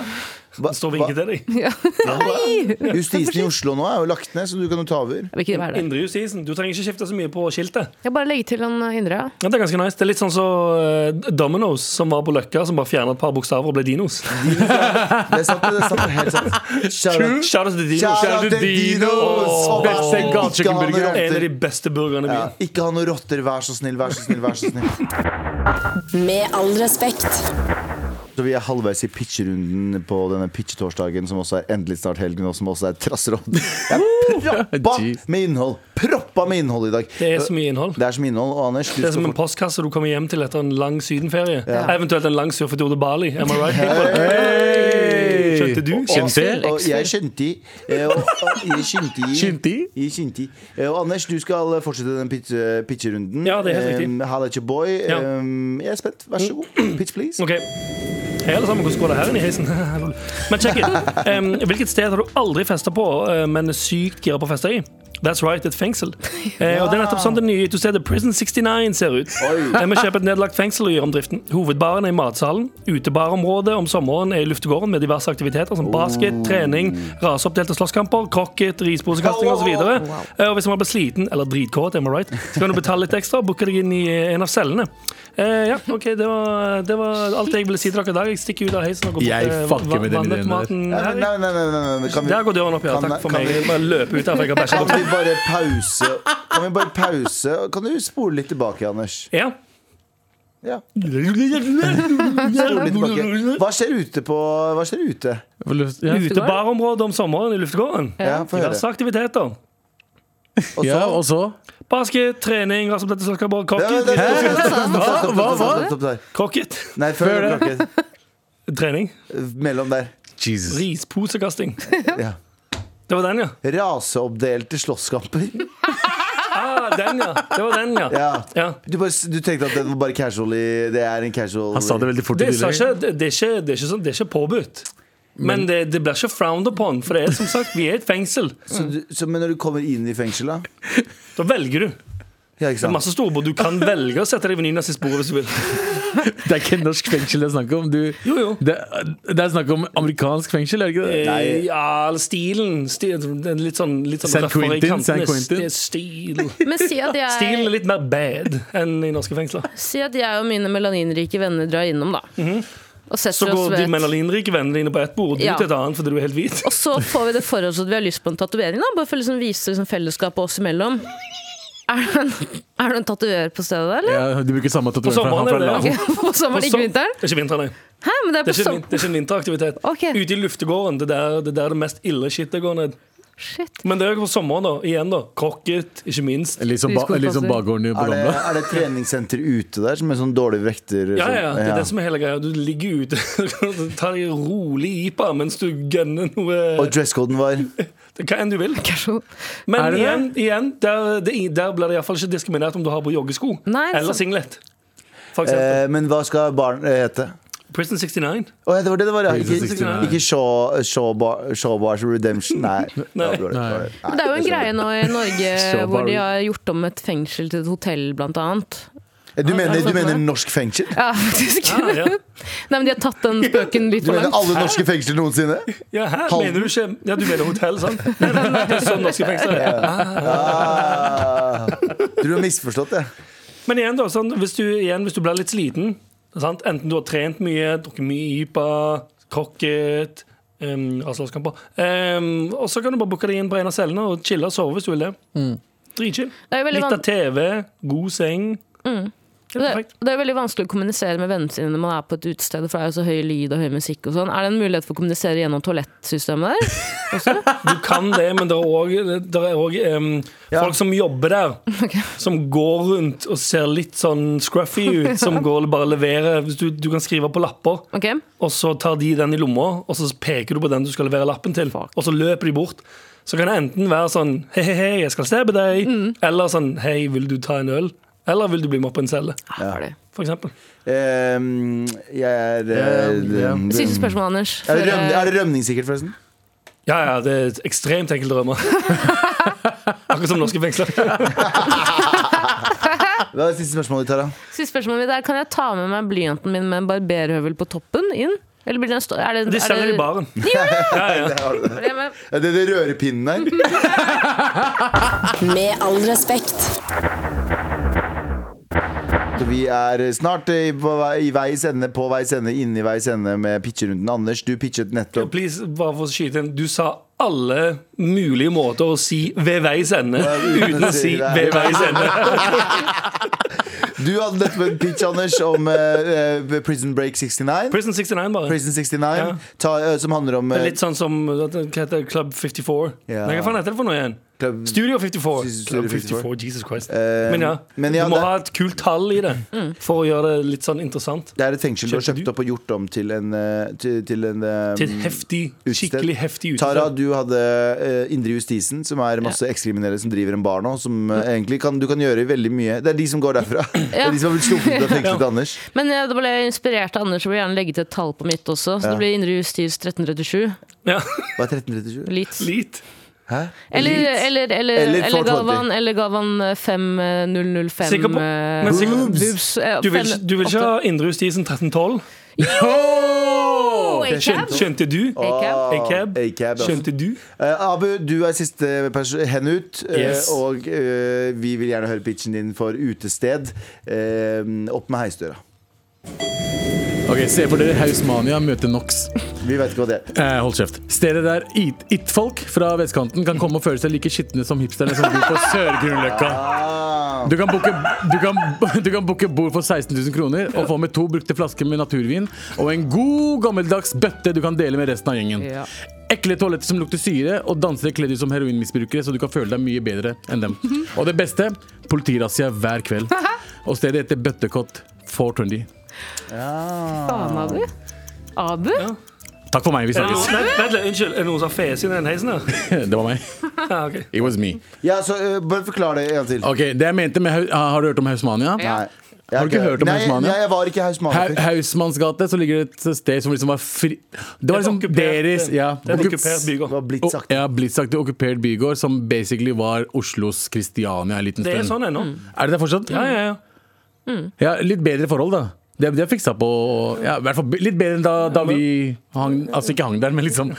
S2: Hva-
S4: Han står og vinker til deg.
S2: hva- Justisen i Oslo nå er jo lagt ned, så du kan jo ta over.
S5: Jeg vil ikke være det.
S4: Indre justisen. Du trenger ikke skifte så mye på skiltet.
S5: Jeg bare legger til eh, han Indre.
S4: Ja, det er ganske nice. Det er litt sånn som eh, Domino's, som var på Løkka, som bare fjernet et par bokstaver og ble Dinos.
S2: Det er sant, det er sant, det er helt sant. Shout out-
S4: Shout out til Dinos.
S2: Shout out til
S4: Åh,
S2: Dinos!
S3: Beste gatekjøkkenburger.
S4: En av de beste burgerne i
S2: Ja,
S4: byen.
S2: ikke ha noen rotter, vær så snill, vær så snill. vær Så snill
S8: Med all respekt.
S2: Så Vi er halvveis i pitcherunden på denne pitchetorsdagen, som også er endelig snart helgen, og som også er trasseråd. Jeg er proppa
S3: Jeez.
S2: med innhold Proppa med innhold i dag.
S4: Det er så mye innhold.
S2: Det er som innhold. Og Anders, du
S4: Det er som
S2: skal
S4: en postkasse du kommer hjem til etter en lang sydenferie. Eventuelt en lang surfetur til Bali. Am I right?
S3: Hey!
S4: Skjønte du?
S3: Skjønte jeg?
S2: Og jeg skjønte eh, og- og jeg skjønte
S3: Skjønte?
S2: Jeg skjønte Eh, Og Anders, du skal fortsette den pitch- pitcherunden.
S4: Ja, det er helt riktig.
S2: Eh, Halla, it's your boy.
S4: Ja.
S2: Eh, Jeg er spent. Vær så god. Pitch, please.
S4: Ok Hei alle sammen, hvordan går det her inne i heisen? Men check it. Um, hvilket sted har du aldri festa på, uh, men er sykt gira på å feste i? That's right, et fengsel. Eh, og Det er nettopp sånn det nye utestedet Prison 69 ser ut. Eh, Vi kjøper et nedlagt fengsel og gjør om driften. Hovedbaren er i matsalen. Utebarområdet om sommeren er i luftegården med diverse aktiviteter som basket,
S2: Oh.
S4: trening, raseoppdelte slåsskamper, crocket, risposekasting osv. Eh, Og hvis man blir sliten eller dritkåt, am I right, så kan du betale litt ekstra og booke deg inn i en av cellene. Eh, ja, OK, det var, det var alt jeg ville si til dere i dag. Jeg stikker ut av heisen og går
S3: Jeg
S4: bort eh,
S3: fucker
S4: til
S3: med den ideen der.
S4: vannautomaten
S2: Nei,
S4: her.
S2: nei, nei, nei, nei, nei. Kan vi,
S4: Der går døren opp, ja.
S2: Kan-
S4: Takk for
S2: kan
S4: meg.
S2: vi-
S4: Jeg bare løper ut herfra. Jeg har bæsja
S2: kan
S4: på
S2: vi bare pause? Kan vi bare pause? Kan du spole litt tilbake, Anders?
S4: Ja.
S2: Ja. Spole litt tilbake. Hva skjer ute på Hva skjer ute?
S3: Ja.
S4: Utebarområdet om sommeren i luftegården.
S2: Ja, få høre.
S4: Diverse aktiviteter.
S2: Og
S3: Ja, og
S2: så
S3: så?
S4: Basket, trening, raseblette, sokkerball,
S2: Nei, nei,
S4: crocket.
S2: nei, stopp, stopp, stopp, stopp, stopp, stopp, stopp,
S3: Hva? Hva
S2: stopp,
S3: var
S2: stopp,
S3: det?
S2: stopp der.
S4: Crocket.
S2: Nei, før det klokket.
S4: Trening.
S2: Mellom der.
S3: Jesus.
S4: Risposekasting.
S2: Ja.
S4: Det var den, ja.
S2: Raseoppdelte slåsskamper.
S4: Ah, den, ja. Det var den, ja.
S2: Ja.
S4: ja.
S2: Du, bare, du tenkte at det var bare casual i Det er en casual
S3: Han sa det veldig fort. i
S4: Det, sa
S3: tillegg.
S4: ikke, det, det, er ikke, det, er ikke sånn, det er ikke påbudt. Men det, det blir ikke frowned upon, for det er som sagt, vi er et fengsel.
S2: så, du, så, Men når du kommer inn i fengsel, da?
S4: Da velger du.
S2: Ja, ikke
S4: Det er
S2: sant?
S4: masse storbord. Du kan velge å sette deg ved nynazistbordet hvis du vil.
S3: Det er ikke norsk fengsel det er snakk om. Du,
S4: Jo, jo.
S3: Det, det er snakk om amerikansk fengsel, er det ikke det?
S4: Eh, Ja, eller stilen. Stil, det er litt sånn, litt sånn
S3: San
S4: røffere i
S3: Quentin,
S4: kantene.
S3: San Quentin.
S4: Det er Stil.
S5: Men si at
S4: Stilen
S5: jeg,
S4: er litt mer bad enn i norske fengsler.
S5: si at jeg og mine melaninrike venner drar innom, da. Og
S4: Så
S5: setter oss
S4: går de
S5: ved et
S4: melaninrike vennene dine på ett bord, du
S5: Ja.
S4: til et annet fordi du er helt hvit.
S5: og så får vi det for oss at vi har lyst på en tatovering. da, Bare for å liksom vise liksom fellesskapet oss imellom. Er det en, er det en tatoverer på stedet, der, eller?
S3: Ja, du bruker samme tatovering fra
S4: sommeren
S3: han fra
S4: er det, ja.
S3: Lago.
S5: På sommeren,
S4: Og så-
S5: ikke vinteren?
S4: Det er ikke vinteren, nei.
S5: Hæ,
S4: Det
S5: men det er på
S4: er ikke, en
S5: sommeren.
S4: vin- det er ikke en vinteraktivitet.
S5: Ok.
S4: Ute i luftegården. Det er der det, er der det mest ille skittet går ned.
S5: Shit.
S4: Men det er jo på sommeren, da. Igjen, da. Krokket, ikke minst.
S3: Litt som, ba, litt som bakgården i på
S2: Er det,
S3: gamle.
S2: er det treningssenter ute der som er sånn dårlig vekter?
S4: Ja, ja, det er
S2: Ja.
S4: det som er hele greia. Du ligger ute og tar deg rolig IPA mens du gønner noe
S2: Og dresscoden var
S4: Hva enn du vil.
S5: Casual.
S4: Men
S3: Er det
S4: igjen, igjen der, det, der blir det iallfall ikke diskriminert om du har på joggesko
S5: Nei, det er
S4: eller
S5: sant.
S4: singlet. For eksempel.
S2: eh, Men hva skal barn eh, hete?
S4: Prison 69.
S2: Å, ja, det var det det var, ja.
S3: Jesus,
S2: Ikke,
S3: 69.
S2: ikke Shaw, Shawbar, Shawbars Redemption. Nei.
S4: Nei.
S2: Da ble det-
S3: Nei.
S5: Men det er jo en greie nå i Norge
S3: Så
S5: hvor de
S3: bare-
S5: har gjort om et fengsel til et hotell, blant annet.
S2: Eh, Du mener, du mener norsk fengsel?
S5: Ja, faktisk.
S4: Ah, ja.
S5: Nei, men de har tatt den spøken litt
S2: Du
S5: for
S2: mener
S5: langt.
S2: alle norske fengsler noensinne?
S4: Ja, her
S2: Halden.
S4: mener du ikke Ja, du mener hotell, sant? Nei, nei, nei, det er sånn norske fengsler er.
S2: Ah, tror du har misforstått det.
S4: Men igjen, da, sånn, hvis, du, igjen hvis du blir litt sliten, sant? enten du har trent mye, drukket mye IPA, krokket um, Raselandskamper um, Og så kan du bare booke deg inn på en av cellene og chille og sove hvis du vil det. Dritchill.
S5: Det er jo veldig
S4: Litt av
S5: van-
S4: TV, god seng. Det er
S5: Det,
S4: perfekt.
S5: det er veldig vanskelig å kommunisere med vennene sine når man er på et utested, for det er jo så høy lyd og høy musikk og sånn. Er det en mulighet for å kommunisere gjennom toalettsystemet der?
S4: Du kan det, men det er også- det er òg folk som jobber der. Som går rundt og ser litt sånn scruffy ut. Som går og bare leverer Hvis du, du kan skrive på lapper,
S5: Ok?
S4: og så tar de den i lomma, og så peker du på den du skal levere lappen til, og så løper de bort. Så kan det enten være sånn Hei, hei, hei, jeg skal se på deg.
S5: Mm.
S4: Eller sånn Hei, vil du ta en øl? Eller vil du bli med opp på en celle?
S5: Ja.
S4: For eksempel.
S2: Ehm, jeg er eh,
S3: Ja, ja.
S5: Siste spørsmål, Anders.
S2: Er det,
S5: før,
S2: røm,
S5: eh,
S2: er det rømningssikkert, forresten?
S4: Ja, ja, det er et ekstremt enkelt å rømme. Akkurat som norske fengsler.
S2: Hva er det siste spørsmålet ditt, Tara?
S5: Siste spørsmål mitt er, kan jeg ta med meg blyanten min med en barberhøvel på toppen inn? Eller blir det en stå... Er det,
S4: De
S5: er
S4: selger
S5: det,
S4: i baren.
S2: Der har du det.
S5: Ja, men-
S2: Er det det rørepinnen her?
S8: Med all respekt.
S2: Så vi er snart i, på vei, i veis ende, på veis ende, inne i veis ende med pitcherunden. Anders, du pitchet nettopp.
S4: Please, bare for å skyte inn. Du sa alle mulige måter å si 'ved veis ende' uten å si 'ved veis ende'.
S2: Du hadde nettopp en pitch, Anders, om eh, eh, Prison Break 69.
S4: Prison 69, bare.
S2: Prison 69,
S4: Ja.
S2: ta, eh, som handler om eh,
S4: Litt sånn som hva heter det, Club 54.
S2: Ja.
S4: Nei, hva faen heter det for noe igjen?
S2: Club-
S4: Studio 54.
S2: Studio
S4: Club
S2: 54.
S4: 54, Jesus Christ.
S2: Eh,
S4: Men ja,
S2: men ja,
S4: du må
S2: det-
S4: ha et kult tall i det
S5: Mm.
S4: for å gjøre det litt sånn interessant.
S2: Det er et fengsel du har
S4: Kjøpte
S2: kjøpt
S4: du?
S2: opp og gjort om til en, eh, til, til en eh,
S4: Til et heftig,
S2: utested.
S4: skikkelig heftig
S2: Tara,
S4: utested.
S2: du hadde eh, Indre Justisen, som er masse ekskriminelle som driver en bar nå. Som eh, egentlig kan, du kan gjøre veldig mye. Det er de som går derfra. Det
S5: Ja.
S2: er de som har blitt sluppet ut av fengselet til Anders.
S5: Men jeg ble inspirert av Anders, så vil jeg gjerne legge til et tall på mitt også. Så
S2: Ja.
S5: det blir Indre Justis 1337.
S4: Ja,
S2: Hva er 1337?
S5: Litt.
S4: Litt.
S2: Hæ?
S5: Eller, eller, eller,
S2: Eller
S5: eller
S2: 420.
S5: Galvan, eller Galvan eh, 5005
S4: Sikker på-
S5: eh,
S4: men sikker-
S5: boobs, eh,
S4: Du vil,
S5: fem-
S4: ikke- du vil ikke
S5: åtte.
S4: ha Indre Justisen 1312?
S5: Oh, a
S4: Skjøn-
S5: cab?
S4: Skjønte du? Ah.
S5: A-cab?
S4: A-cab?
S2: A-cab, altså.
S4: Skjønte du?
S2: Eh, Abu, du er siste perso- hen ut. eh,
S4: Yes.
S2: Og eh, vi vil gjerne høre pitchen din for utested. Eh, opp med heisdøra.
S3: Ok, Se for dere Hausmania møter Nox.
S2: Vi vet ikke hva det er.
S3: Eh, hold kjeft. Stedet der it- it-folk fra vestkanten kan komme og føle seg like skitne som hipsterne som bor på Sør-Grünerløkka.
S2: Ah,
S3: Du kan booke- du kan- du kan booke bord for 16 000 kroner og få med to brukte flasker med naturvin og en god, gammeldags bøtte du kan dele med resten av gjengen.
S5: Ja.
S3: Ekle toaletter som lukter syre, og dansere kledd ut som heroinmisbrukere, så du kan føle deg mye bedre enn dem. Og det beste politirazzia hver kveld. Og stedet heter Bøttekott 420.
S5: Faen, Abu. Abu?
S3: Takk for meg, vi
S4: Er det noen-
S3: snakkes.
S4: Nei, vent litt, unnskyld. Er det noen som har fes inn i den heisen her?
S3: Det var meg.
S4: Ja, ok.
S3: It was me.
S2: ja, så eh, Bare forklar det en gang til.
S3: Ok, det jeg mente med, Hau- Har du hørt om Hausmania?
S5: Ja.
S2: Nei. Jeg
S3: Har du ikke hørt om
S2: nei,
S3: Hausmania?
S2: Nei, jeg var ikke Hausmania.
S3: Hau- Hausmannsgate, så ligger det et sted som liksom var fri Det var
S4: Det er
S3: liksom
S4: okkupert-
S3: deres ja,
S4: Det er en
S3: okkup-
S4: okkupert
S2: Det var
S4: bygård.
S2: blitt
S3: og-
S2: sagt.
S3: Ja, Blitzaktig okkupert bygård, som basically var Oslos Kristiania en liten
S4: Det er
S3: stund.
S4: sånn
S5: Mm.
S4: ennå.
S3: Er det det fortsatt?
S4: Ja, ja, ja.
S3: Ja, litt bedre forhold, da. Det de har fiksa på ja, i hvert fall Litt bedre enn da, da vi hang Altså ikke hang der, men liksom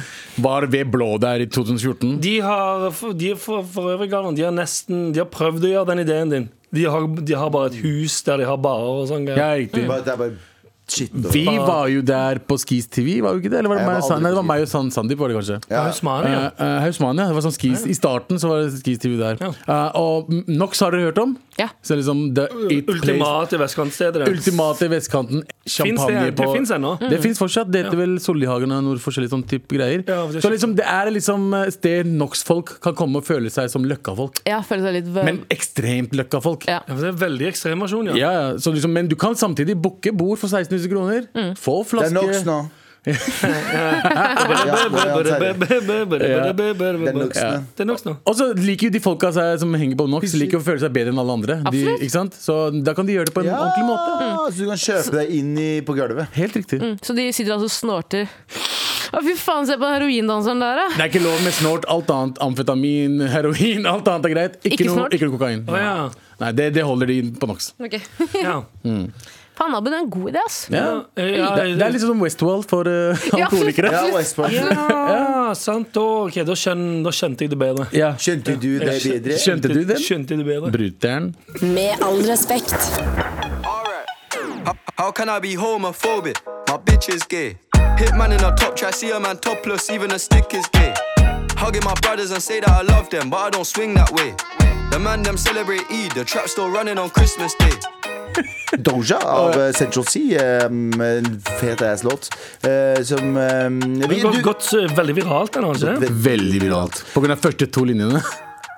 S3: var ved blå der i 2014.
S4: De har, for- de er for, for øvrig, Galvan, de har nesten De har prøvd å gjøre den ideen din. De har, de har bare et hus der de har barer og sånn.
S3: Ja,
S4: greier.
S3: riktig.
S2: Bare- Det er bare shit. altså. over.
S3: Vi var jo der på Skis TV, var vi ikke det? Eller var det,
S2: Jeg var
S3: meg, og Sa-
S2: aldri
S3: nei, det
S2: på
S3: var meg og San- Sandeep, var det kanskje?
S4: Ja, Hausmania.
S3: Eh, eh, Hausmania. Det var sånn skis, I starten så var det skis-TV der. Eh, og Nox har dere hørt om?
S5: Ja.
S3: Så liksom the
S4: Uh,
S3: it place
S4: Ultimate vestkantstedet deres.
S3: Ultimate vestkanten. Champagne
S4: det- det
S3: på Mm.
S4: finnes ennå.
S5: Mm.
S3: Det fins fortsatt. Det heter vel Sollihagen og noe forskjellig sånn type greier.
S4: Ja, det er
S3: så liksom det er liksom eh, sted Nox-folk kan komme og føle seg som løkkafolk.
S5: Ja, føler seg litt vø-
S3: Men ekstremt løkkafolk.
S5: Ja.
S4: Ja, for det er veldig ekstrem versjon, ja.
S3: Ja, ja. så liksom, men du kan samtidig booke bord for 16 000 kroner.
S5: Mm.
S3: Få
S2: Det er
S3: flaske
S2: Nox nå. Ja, det er han Terje. Det er Nox nå.
S4: Det er nok nå.
S3: Og så liker jo de folka seg som henger på Nox, liker å føle seg bedre enn alle andre. De,
S5: Absolutt.
S3: ikke sant? Så da kan de gjøre det på en
S2: Ja,
S3: ordentlig måte.
S2: så du kan kjøpe deg inn i, på gulvet.
S3: Helt riktig.
S5: Så de sitter altså og snorter. Å, fy faen, se på den heroindanseren der, da!
S3: Det er ikke lov med snort. Alt annet. Amfetamin, heroin, alt annet er greit. Ikke,
S5: Ikke
S3: noe,
S5: snort?
S3: ikke noe kokain.
S4: Å ja.
S3: Nei, det, det holder de på Nox.
S4: ja.
S5: Faen, Abu, det er en god idé, ass.
S3: Ja. Det, det er litt sånn som Westworld for uh,
S5: Ja,
S3: alkoholikere.
S2: Ja, Westport.
S4: Ja, sant. Da, ok, da, skjøn, da skjønte jeg det bedre.
S3: Ja.
S2: Skjønte du det bedre?
S3: Skjønte du den?
S4: Skjønte jeg det bedre.
S3: Bruteren.
S8: Med all respekt.
S9: Alright. How, how can I be homophobic? My bitch is gay. Hitman in a top try, see a man topless, even a stick is gay. Hugging my brothers and say that I love them, but I don't swing that way. The man them celebrate Eid, the trap still running on Christmas Day.
S2: Doja av eh, Central Sea. eh, En fet ass-låt. eh, Som eh, vi,
S4: Det har
S2: du,
S4: gått eh, veldig viralt ennå, ikke det?
S3: Veldig viralt. På grunn av første to linjene.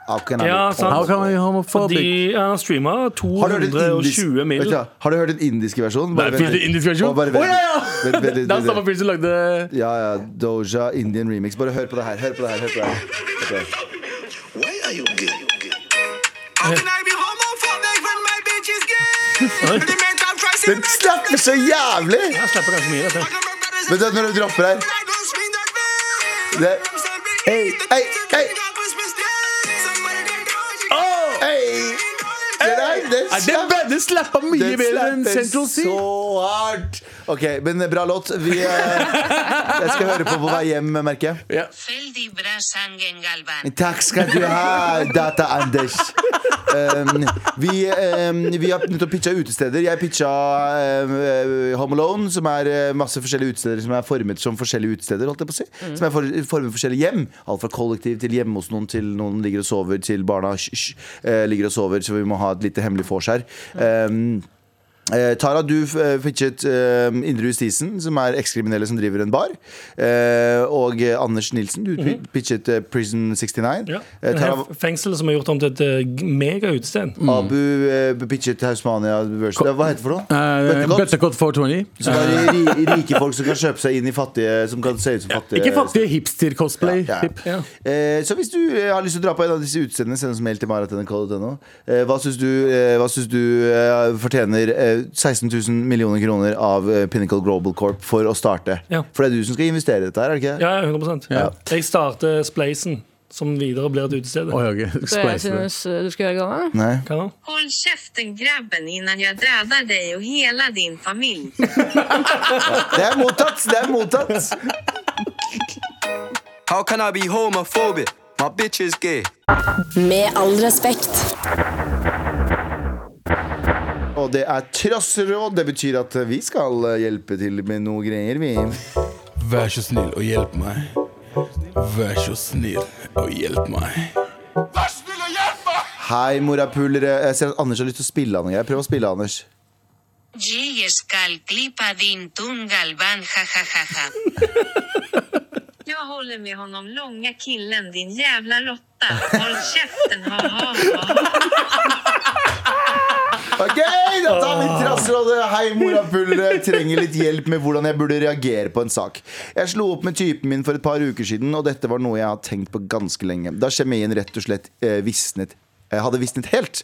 S2: How can I be-
S4: Ja,
S3: How
S4: sant.
S3: can I be
S4: De
S3: homophobic?
S4: ja, streama
S2: Har du hørt den indiske-
S4: 220
S2: Vet
S4: mil.
S2: du hva, Har du hørt den indiske versjonen?
S3: Nei, finnes det indisk versjon?
S2: Å, bare
S3: Å,
S2: vent.
S3: ja, ja!
S2: Vent, vent, vent,
S3: Det er
S2: vent.
S3: samme fyr som lagde
S2: Ja, ja. Doja, Indian remix. Bare hør på det her. Hør på det her. Hør på det her. Hør på det her.
S9: Why are you gay? How can I be homophobic when my bitch is gay? When the man top try, see a
S2: Den
S9: man
S2: slapper så jævlig!
S4: Jeg slipper kanskje mye, dette.
S9: Hugging my brothers and
S2: Vet du hva, når du dropper her
S9: I don't swing that way.
S2: Det-
S9: I'm so big,
S2: Hey,
S9: the
S2: hey, Oh.
S9: kids are
S2: hey.
S9: big on Christmas Day. Somebody get down, you
S2: Hey!
S9: get
S2: Get
S9: down.
S2: Nei, den
S3: Nei, Den,
S2: slapp-
S3: den slappa mye
S2: den
S3: bedre enn
S2: slapper
S3: Central Sea.
S2: Så hardt! Ok, men bra låt. Vi, eh, jeg skal høre på på vei hjem, merker jeg.
S3: Ja.
S2: Takk skal du ha, Data-Anders. Um, vi, um, vi har nettopp pitcha utesteder. Jeg pitcha um, uh, Home Alone, som er uh, masse forskjellige utesteder som er formet som forskjellige utesteder. Holdt jeg på å si. Som er for, formet for forskjellige hjem. Alt fra kollektiv til hjemme hos noen, til noen ligger og sover, til barna hysj, hysj, eh, ligger og sover, så vi må ha et lite hemmelig vors her. Um, Eh, Tara, du eh, pitchet eh, Indre Justisen, som er ekskriminelle som driver en bar. Eh, og eh, Anders Nilsen, du pitchet eh, Prison 69.
S4: Ja.
S2: Eh,
S4: Det
S2: Tara,
S4: her Fengselet som er gjort om til et eh, megautested.
S2: Abu eh, pitchet Hausmania Versus. Det- Hva heter det for noe?
S3: Eh,
S2: Bøttekott.
S3: Bøttekott 420.
S2: Som er ri, rike folk som kan kjøpe seg inn i fattige Som kan se ut som fattige.
S3: Ikke fattige hipster-cosplay.
S2: Ja, ja.
S3: Hip.
S2: Eh, så hvis du eh, har lyst til å dra på en av disse utestedene, send oss mail til maratnrk.no. Eh, hva syns du, eh, hva syns du eh, fortjener eh, 16 000 millioner kroner av eh, Pinnacle Global Corp for å starte?
S4: Ja.
S2: For det er du som skal investere i dette her, er det ikke?
S4: Ja, 100
S3: Ja.
S4: Jeg starter Spleisen, som videre blir et utested.
S3: Oi, ok.
S5: Så jeg
S3: Spleis det.
S5: synes eh, du skal gjøre galla.
S2: Nei.
S4: Hva da?
S10: Håll käften grabben innan jag dödar dig och hela din familj.
S2: Det er mottatt! Det er mottatt!
S9: How can I be homophobic? My bitch is gay.
S8: Med all respekt.
S2: Og det er trassråd. Det betyr at vi skal eh, hjelpe til med noe greier, vi.
S3: Vær så snill og hjelp meg. Vær så snill og hjelp meg.
S2: Hei, morapulere. Jeg ser at Anders har lyst til å spille han og jeg. Prøv å spille, Anders.
S10: Jag skall klippa din tungalvan, ha ha ha ha. Jag håller med honom, långa killen, din jävla råtta. Håll käften, ha ha ha.
S2: Ok, da tar vi trassrådet. Hei, morapulere. Trenger litt hjelp med hvordan jeg burde reagere på en sak. Jeg slo opp med typen min for et par uker siden, og dette var noe jeg har tenkt på ganske lenge. Da kjemien rett og slett eh, visnet. eh, Hadde visnet helt.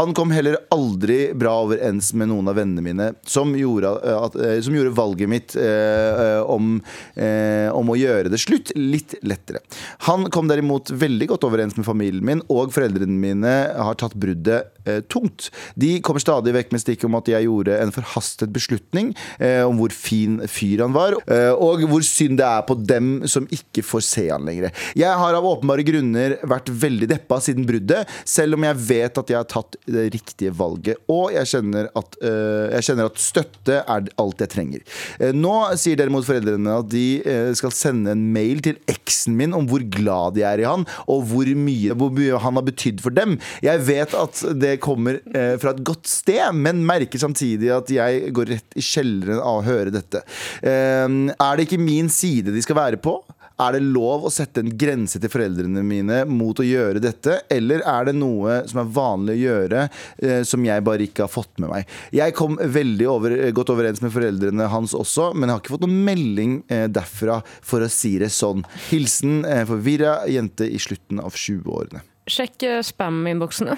S2: Han kom heller aldri bra overens med noen av vennene mine, som gjorde, eh, at, eh, som gjorde valget mitt eh, eh, om, eh, om å gjøre det slutt litt lettere. Han kom derimot veldig godt overens med familien min, og foreldrene mine har tatt bruddet eh, tungt. De kommer stadig vekk med stikk om at jeg gjorde en forhastet beslutning eh, om hvor fin fyr han var, eh, og hvor synd det er på dem som ikke får se han lenger. Jeg har av åpenbare grunner vært veldig deppa siden bruddet, selv om jeg vet at jeg har tatt det riktige valget, og jeg kjenner at, eh, jeg kjenner at støtte er alt jeg trenger. Eh, nå sier derimot foreldrene at de eh, skal sende en mail til eksen min om hvor glad de er i han, og hvor mye, hvor mye han har betydd for dem. Jeg vet at det kommer eh, fra et godt sted, men merker samtidig at jeg går rett i kjelleren av å høre dette. Eh, er det ikke min side de skal være på? Er det lov å sette en grense til foreldrene mine mot å gjøre dette, eller er det noe som er vanlig å gjøre, eh, som jeg bare ikke har fått med meg? Jeg kom veldig over, eh, godt overens med foreldrene hans også, men har ikke fått noen melding eh, derfra, for å si det sånn. Hilsen eh, forvirra jente i slutten av 20-årene.
S5: Sjekk eh, spam-innboksene.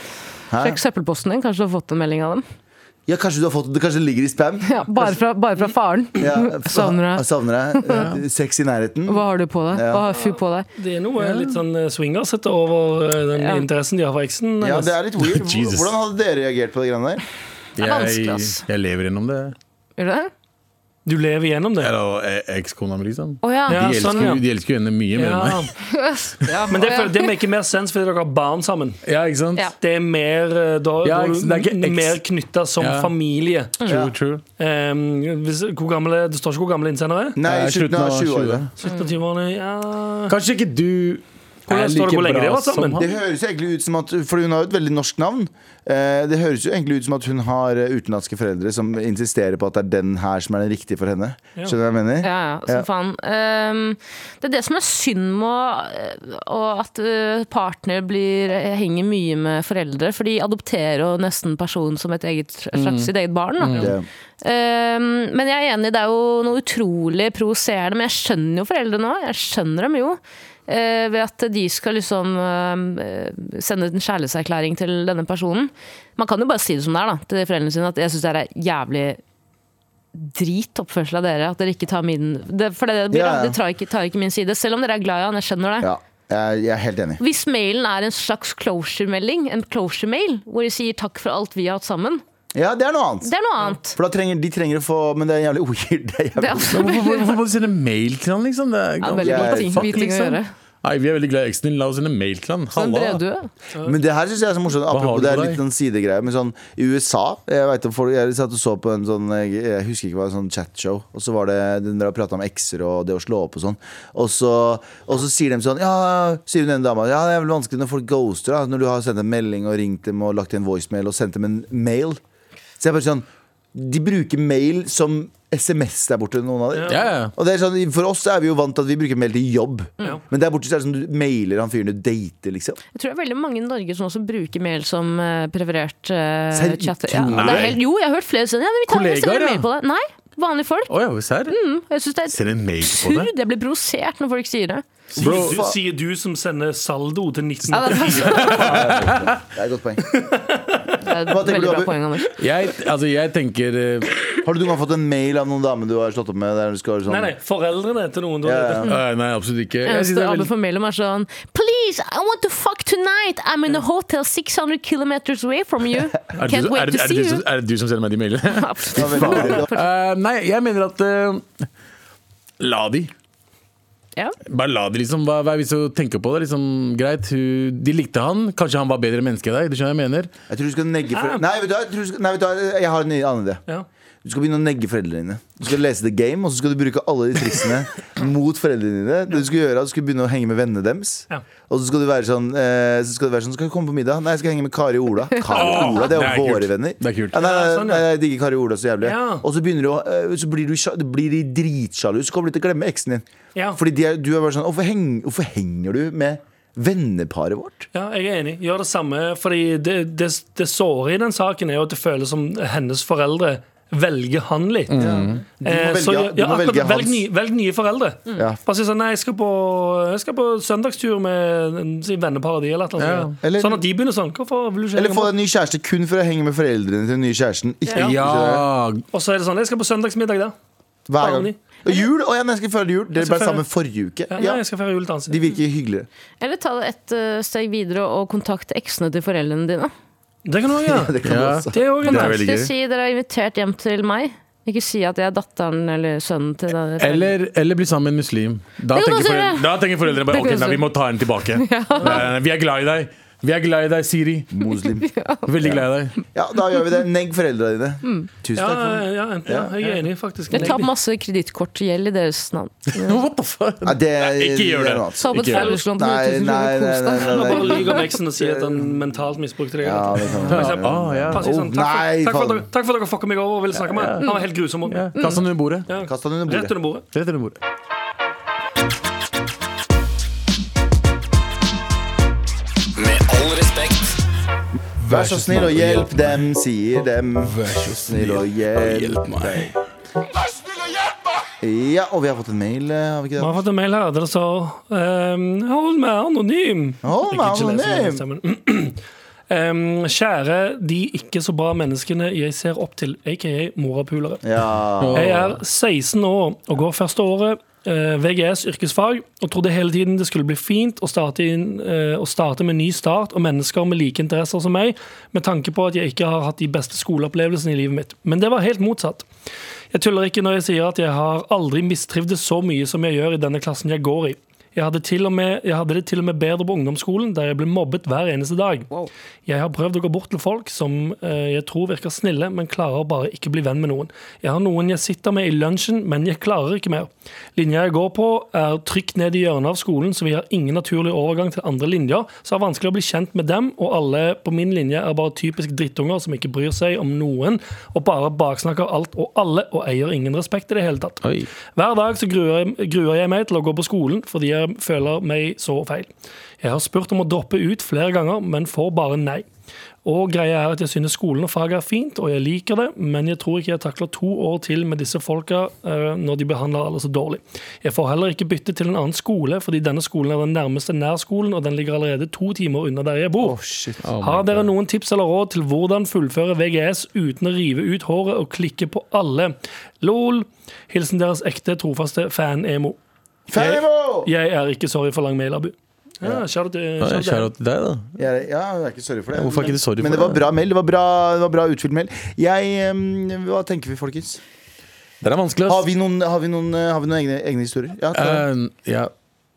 S2: Hæ?
S5: Sjekk søppelposten din, kanskje du har fått en melding av dem.
S2: Ja, kanskje du har fått det? Kanskje det ligger i spam?
S5: Ja, bare, fra, bare fra faren.
S2: Ja,
S5: Savner deg.
S2: Savner deg. Eh, Sex i nærheten.
S5: Hva har du på deg?
S2: Ja.
S5: Hva har fu på deg?
S4: Det er noe litt sånn eh, swingers etter over eh, den
S5: Ja.
S4: interessen de har for eksen.
S2: Ja, det er litt weird.
S3: Jesus.
S2: Hvordan hadde dere reagert på de greiene der?
S5: er vanskelig,
S3: Jeg,
S5: ass.
S3: jeg lever gjennom det.
S5: Gjør du det?
S4: Du lever gjennom det.
S3: Eller eh, ekskona mi, liksom.
S5: Å ja.
S3: De
S4: Ja,
S3: elsker,
S4: sånn, ja.
S3: de elsker jo henne mye mer enn
S4: Ja.
S3: meg.
S4: Men det, føler- det maker mer sens fordi dere har barn sammen.
S3: Ja, ikke sant?
S5: Ja.
S4: Det er mer, eh, da,
S3: Ja,
S4: da er
S3: ikke sant, det er
S4: du
S3: ikke ex-
S4: mer knytta som
S3: Ja.
S4: familie.
S3: True, true.
S4: Ehm, hvis, hvor gammel er, det står ikke hvor gammel innsender er.
S2: Nei,
S3: Eh,
S2: i slutten av 20-årene.
S4: 17 og 20 årene, ja.
S3: Kanskje ikke du
S4: Hvordan
S3: er
S4: står det hvor
S3: like
S4: lenge
S3: bra
S4: dere var sammen?
S3: som
S2: Det
S3: han.
S2: høres jo egentlig ut som at For hun har jo et veldig norsk navn. Eh, Det høres jo egentlig ut som at hun har eh, utenlandske foreldre som insisterer på at det er den her som er den riktige for henne. Skjønner du hva jeg mener?
S5: Ja, ja, som
S2: Ja.
S5: faen. Ehm, det er det som er synd med å- og at eh, partner blir, henger mye med foreldre. For de adopterer jo nesten personen som et eget, slags sitt eget barn. Da.
S2: Det-
S5: Ehm, men jeg er enig, det er jo noe utrolig provoserende. Men jeg skjønner jo foreldrene òg. Jeg skjønner dem jo. eh, ved at de skal liksom eh, sende ut en kjærlighetserklæring til denne personen. Man kan jo bare si det som det er da, til foreldrene sine, at jeg syns det her er jævlig drit oppførsel av dere. At dere ikke tar min det, For det, er det det blir,
S2: Ja, ja.
S5: da. Dere tar ikke, tar ikke min side. Selv om dere er glad i han, jeg skjønner det.
S2: Ja. Jeg, jeg er helt enig.
S5: Hvis mailen er en slags closure-melding, en closure-mail, hvor de sier takk for alt vi har hatt sammen,
S2: Ja, det er noe annet.
S5: det er noe annet.
S2: For da trenger de trenger å få Men det er jævlig weird. Det er
S5: Det
S2: jævlig.
S5: er altså også
S3: Men Hvorfor, hvorfor, hvorfor må du sende mail til han, liksom? Det er liksom.
S5: ja, veldig
S2: Jeg-
S5: mye ting,
S2: fuck,
S5: mye ting å gjøre. Sånn
S3: Nei, vi er veldig glad i eksen din. La oss sende mail til han.
S5: Den
S3: Halla.
S5: brevdue.
S2: Men det her synes jeg er så morsomt.
S3: har
S2: Apropos,
S3: du
S2: det er
S3: på
S2: litt
S3: deg?
S2: en sidegreie. Men sånn i USA Jeg vet, om folk, jeg satt og så på en sånn Jeg, jeg husker ikke hva, en sånn chatshow. Og så var det den der prata om ekser og det å slå opp og sånn. Og så, og så sier de sånn Ja, sier hun ene dama. Ja, det er vel vanskelig når folk ghoster. Da, når du har sendt en melding og ringt dem og lagt igjen voicemail og sendt dem en mail. Så jeg bare sånn De bruker mail som SMS der borte, noen av dem.
S3: Ja, ja.
S2: Og det er sånn, For oss er vi jo vant til at vi bruker mail til jobb.
S4: Ja.
S2: Men der borte så er det sånn du mailer han fyren du dater, liksom.
S5: Jeg tror det er veldig mange i Norge som også bruker mail som eh, preferert eh,
S2: Serr,
S5: chatter. Ja,
S2: tror
S5: det er helt, jo, jeg har hørt flere steder. Ja, men vi tar
S3: Kollegaer,
S5: Kollegaer,
S3: ja.
S5: Mail på det. Nei, vanlige folk.
S3: Å ja, serr?
S5: Jeg synes det er
S3: Send en mail på det.
S5: absurd. Jeg blir provosert når folk sier det.
S3: Bro,
S4: Sier du, sier du som sender saldo til
S5: Ja,
S4: 1980?
S5: det er faktisk-
S2: Det er et godt poeng.
S5: det er
S2: Hva tenker
S5: et
S2: du,
S5: veldig bra
S2: Abu?
S5: poeng, Anders.
S3: jeg, altså, jeg tenker eh,
S2: Har du noen gang fått en mail av noen dame du har slått opp med? Der du skal være sånn,
S4: Nei, nei, foreldrene til noen.
S2: Ja,
S4: Da,
S2: ja.
S3: eh, Nei, absolutt ikke. Jeg synes
S5: Eneste
S3: det er
S5: Abu
S3: veldig-
S5: får mail om, er sånn Please, I want to fuck tonight. I'm in a hotel 600 kilometers away from you.
S3: Er det
S5: Can't
S3: du- er
S5: wait to
S3: det- er det
S5: see
S3: du
S5: you.
S3: som- er det du som sender meg de mailene?
S5: Absolutt.
S2: Ja, veldig bra.
S3: Eh, nei, jeg mener at eh, La de.
S5: Ja.
S3: Bare la de, liksom. Hva, hva er vits i å tenke på det? Liksom, greit, hun, de likte han. Kanskje han var bedre menneske enn deg. Du skjønner hva jeg mener?
S2: Jeg tror du skal negge for... Nei, vet du, hva, jeg, tror du skal... Nei, vet du, hva, jeg har en ny- annen idé.
S4: Ja.
S2: Du skal begynne å negge foreldrene dine. Du skal lese The Game, og så skal du bruke alle de triksene mot foreldrene dine. Det du skal gjøre, er at du skal begynne å henge med vennene deres.
S4: Ja.
S2: Og så skal du være sånn, eh, så skal du være sånn Skal du komme på middag? Nei, jeg skal henge med Kari og Ola. Kari og Ola, det er
S3: det er
S2: jo våre
S3: kult.
S2: venner.
S3: Det er kult.
S2: Ja, nei, nei,
S4: Ja, sånn, ja.
S2: nei, jeg digger Kari og Ola så jævlig.
S4: Ja.
S2: Og så, begynner du å, eh, så blir, du, sja- blir de dritsjalu, så kommer de til å glemme eksen din.
S4: Ja.
S2: Fordi de er, du er bare sånn hvorfor, heng, hvorfor henger du med venneparet vårt?
S4: ja, jeg er enig. Gjør det samme. Fordi det, det, det såre i den saken er jo at det føles som hennes foreldre velger han litt.
S2: Du må
S4: Eh,
S2: velge,
S4: så, ja,
S2: du må
S4: akkurat,
S2: velge
S4: velg,
S2: hans.
S4: nye, velg nye foreldre.
S2: Ja.
S4: Bare si sånn Nei, jeg skal på, jeg skal på søndagstur med en- si, venneparadiet eller noe.
S3: Ja.
S4: sånt.
S2: Eller-
S4: sånn at de begynner sånn. Hvorfor vil du ikke
S2: Eller få deg en
S4: henge med-
S2: ny kjæreste kun for å henge med foreldrene til den nye kjæresten. Ikke
S4: Ja.
S3: Ja,
S4: Og så er det sånn Jeg skal på søndagsmiddag der.
S2: hver gang.
S4: Vanlig.
S2: Og jul? Å ja, nei, jeg skal feire jul. Dere ble
S4: skal feire-
S2: sammen forrige uke.
S4: Ja,
S2: Ja,
S4: Nei, jeg skal feire jul et annet sted.
S2: de virker hyggeligere.
S5: Eller ta det et eh, steg videre og kontakte eksene til foreldrene dine.
S4: Det kan du også gjøre.
S2: Det kan
S3: Ja.
S2: du også.
S4: Det er også
S3: Det
S4: en
S3: er veldig
S5: Skal
S3: gøy.
S5: jeg si dere er invitert hjem til meg? Ikke si at jeg er datteren eller sønnen til dere.
S3: Eller, eller bli sammen med en muslim. Da
S5: Det kan
S3: tenker,
S5: også
S3: foreldre,
S5: gjøre.
S3: da tenker foreldrene bare
S5: Det kan
S3: ok,
S5: også
S3: nei, vi må ta henne tilbake. Nei, Vi er glad i deg. Vi er glad i deg, Siri.
S2: Muslim.
S3: Veldig glad i deg.
S2: Ja, da gjør vi det. Negg foreldra dine. Tusen
S4: Ja,
S2: takk. for det.
S4: ja, enten, ja, jeg er enig, faktisk.
S5: Dere tar masse kredittkortgjeld i deres navn.
S3: What the fuck?
S2: Nei, det,
S3: Ikke gjør det.
S2: er noe annet.
S5: Ta opp et
S3: Ikke gjør det.
S5: forbrukslån på
S2: Nei,
S5: 2000
S2: nei,
S5: kroner og
S2: nei,
S5: kos
S2: nei,
S5: deg.
S2: nei,
S4: Eller
S2: nei.
S4: bare lyver om eksen og sier at han mentalt misbrukte deg.
S2: Ja,
S4: eller noe.
S2: det kan
S4: For eksempel.
S3: Ah, ja.
S4: Bare si sånn,
S2: Å,
S4: takk, for,
S2: nei,
S4: takk, for at
S2: faen.
S4: dere, takk for at dere fucka meg over og ville snakke med meg. Han var helt grusom.
S3: Ja. Kast han under bordet.
S2: Kast han under bordet.
S4: Rett under bordet.
S3: Rett under bordet.
S9: Med all respekt.
S2: Vær så snill og hjelp dem, sier dem. Vær så snill og hjelp
S3: meg.
S2: Ja, og vi har fått en mail, eh, har vi ikke
S4: Vi
S2: det?
S4: har fått en mail her der det står ehm, Hold meg anonym.
S2: Hold
S4: Jeg
S2: meg
S4: kan ikke lese
S2: anonym.
S4: den stemmen. Ehm, kjære de ikke så bra menneskene jeg ser opp til, aka morapulere.
S2: Ja.
S4: Jeg er 16 år og går første året eh, VGS yrkesfag og trodde hele tiden det skulle bli fint å starte, inn, eh, å starte med ny start og mennesker med like interesser som meg, med tanke på at jeg ikke har hatt de beste skoleopplevelsene i livet mitt. Men det var helt motsatt. Jeg tuller ikke når jeg sier at jeg har aldri mistrivdes så mye som jeg gjør i denne klassen jeg går i. Jeg hadde, til og med, jeg hadde det til og med bedre på ungdomsskolen, der jeg ble mobbet hver eneste dag. Jeg har prøvd å gå bort til folk som eh, jeg tror virker snille, men klarer bare ikke bli venn med noen. Jeg har noen jeg sitter med i lunsjen, men jeg klarer ikke mer. Linja jeg går på, er trygt ned i hjørnet av skolen, så vi har ingen naturlig overgang til andre linjer, så det er vanskelig å bli kjent med dem, og alle på min linje er bare typisk drittunger som ikke bryr seg om noen, og bare baksnakker alt og alle, og eier ingen respekt i det hele tatt.
S3: Oi.
S4: Hver dag så gruer jeg, gruer jeg meg til å gå på skolen fordi jeg føler meg så feil. Jeg har spurt om å droppe ut flere ganger, men får bare nei. Og greia er at jeg synes skolen og faget er fint, og jeg liker det, men jeg tror ikke jeg takler to år til med disse folka eh, når de behandler alle så dårlig. Jeg får heller ikke bytte til en annen skole, fordi denne skolen er den nærmeste nærskolen, og den ligger allerede to timer unna der jeg bor. Har dere noen tips eller råd til hvordan fullføre VGS uten å rive ut håret og klikke på alle? Lol. Hilsen deres ekte, trofaste fan-emo.
S2: Fermo!
S4: Jeg er ikke sorry for lang mail, Abu. Ja, shout out til-
S3: Ja,
S4: shout out
S3: Shout-out til deg, da.
S2: Jeg, ja, jeg er ikke sorry for det.
S3: Hvorfor er ikke
S2: men-
S3: du sorry for
S2: Men det
S3: det?
S2: var bra meld. Det var bra, det var bra utfylt meld. Jeg, eh, hva tenker vi, folkens?
S3: Den er vanskelig,
S2: Har
S3: ass.
S2: vi noen, har vi noen, eh, har vi noen egne, egne historier? Ja, ta det.
S3: Eh, ja.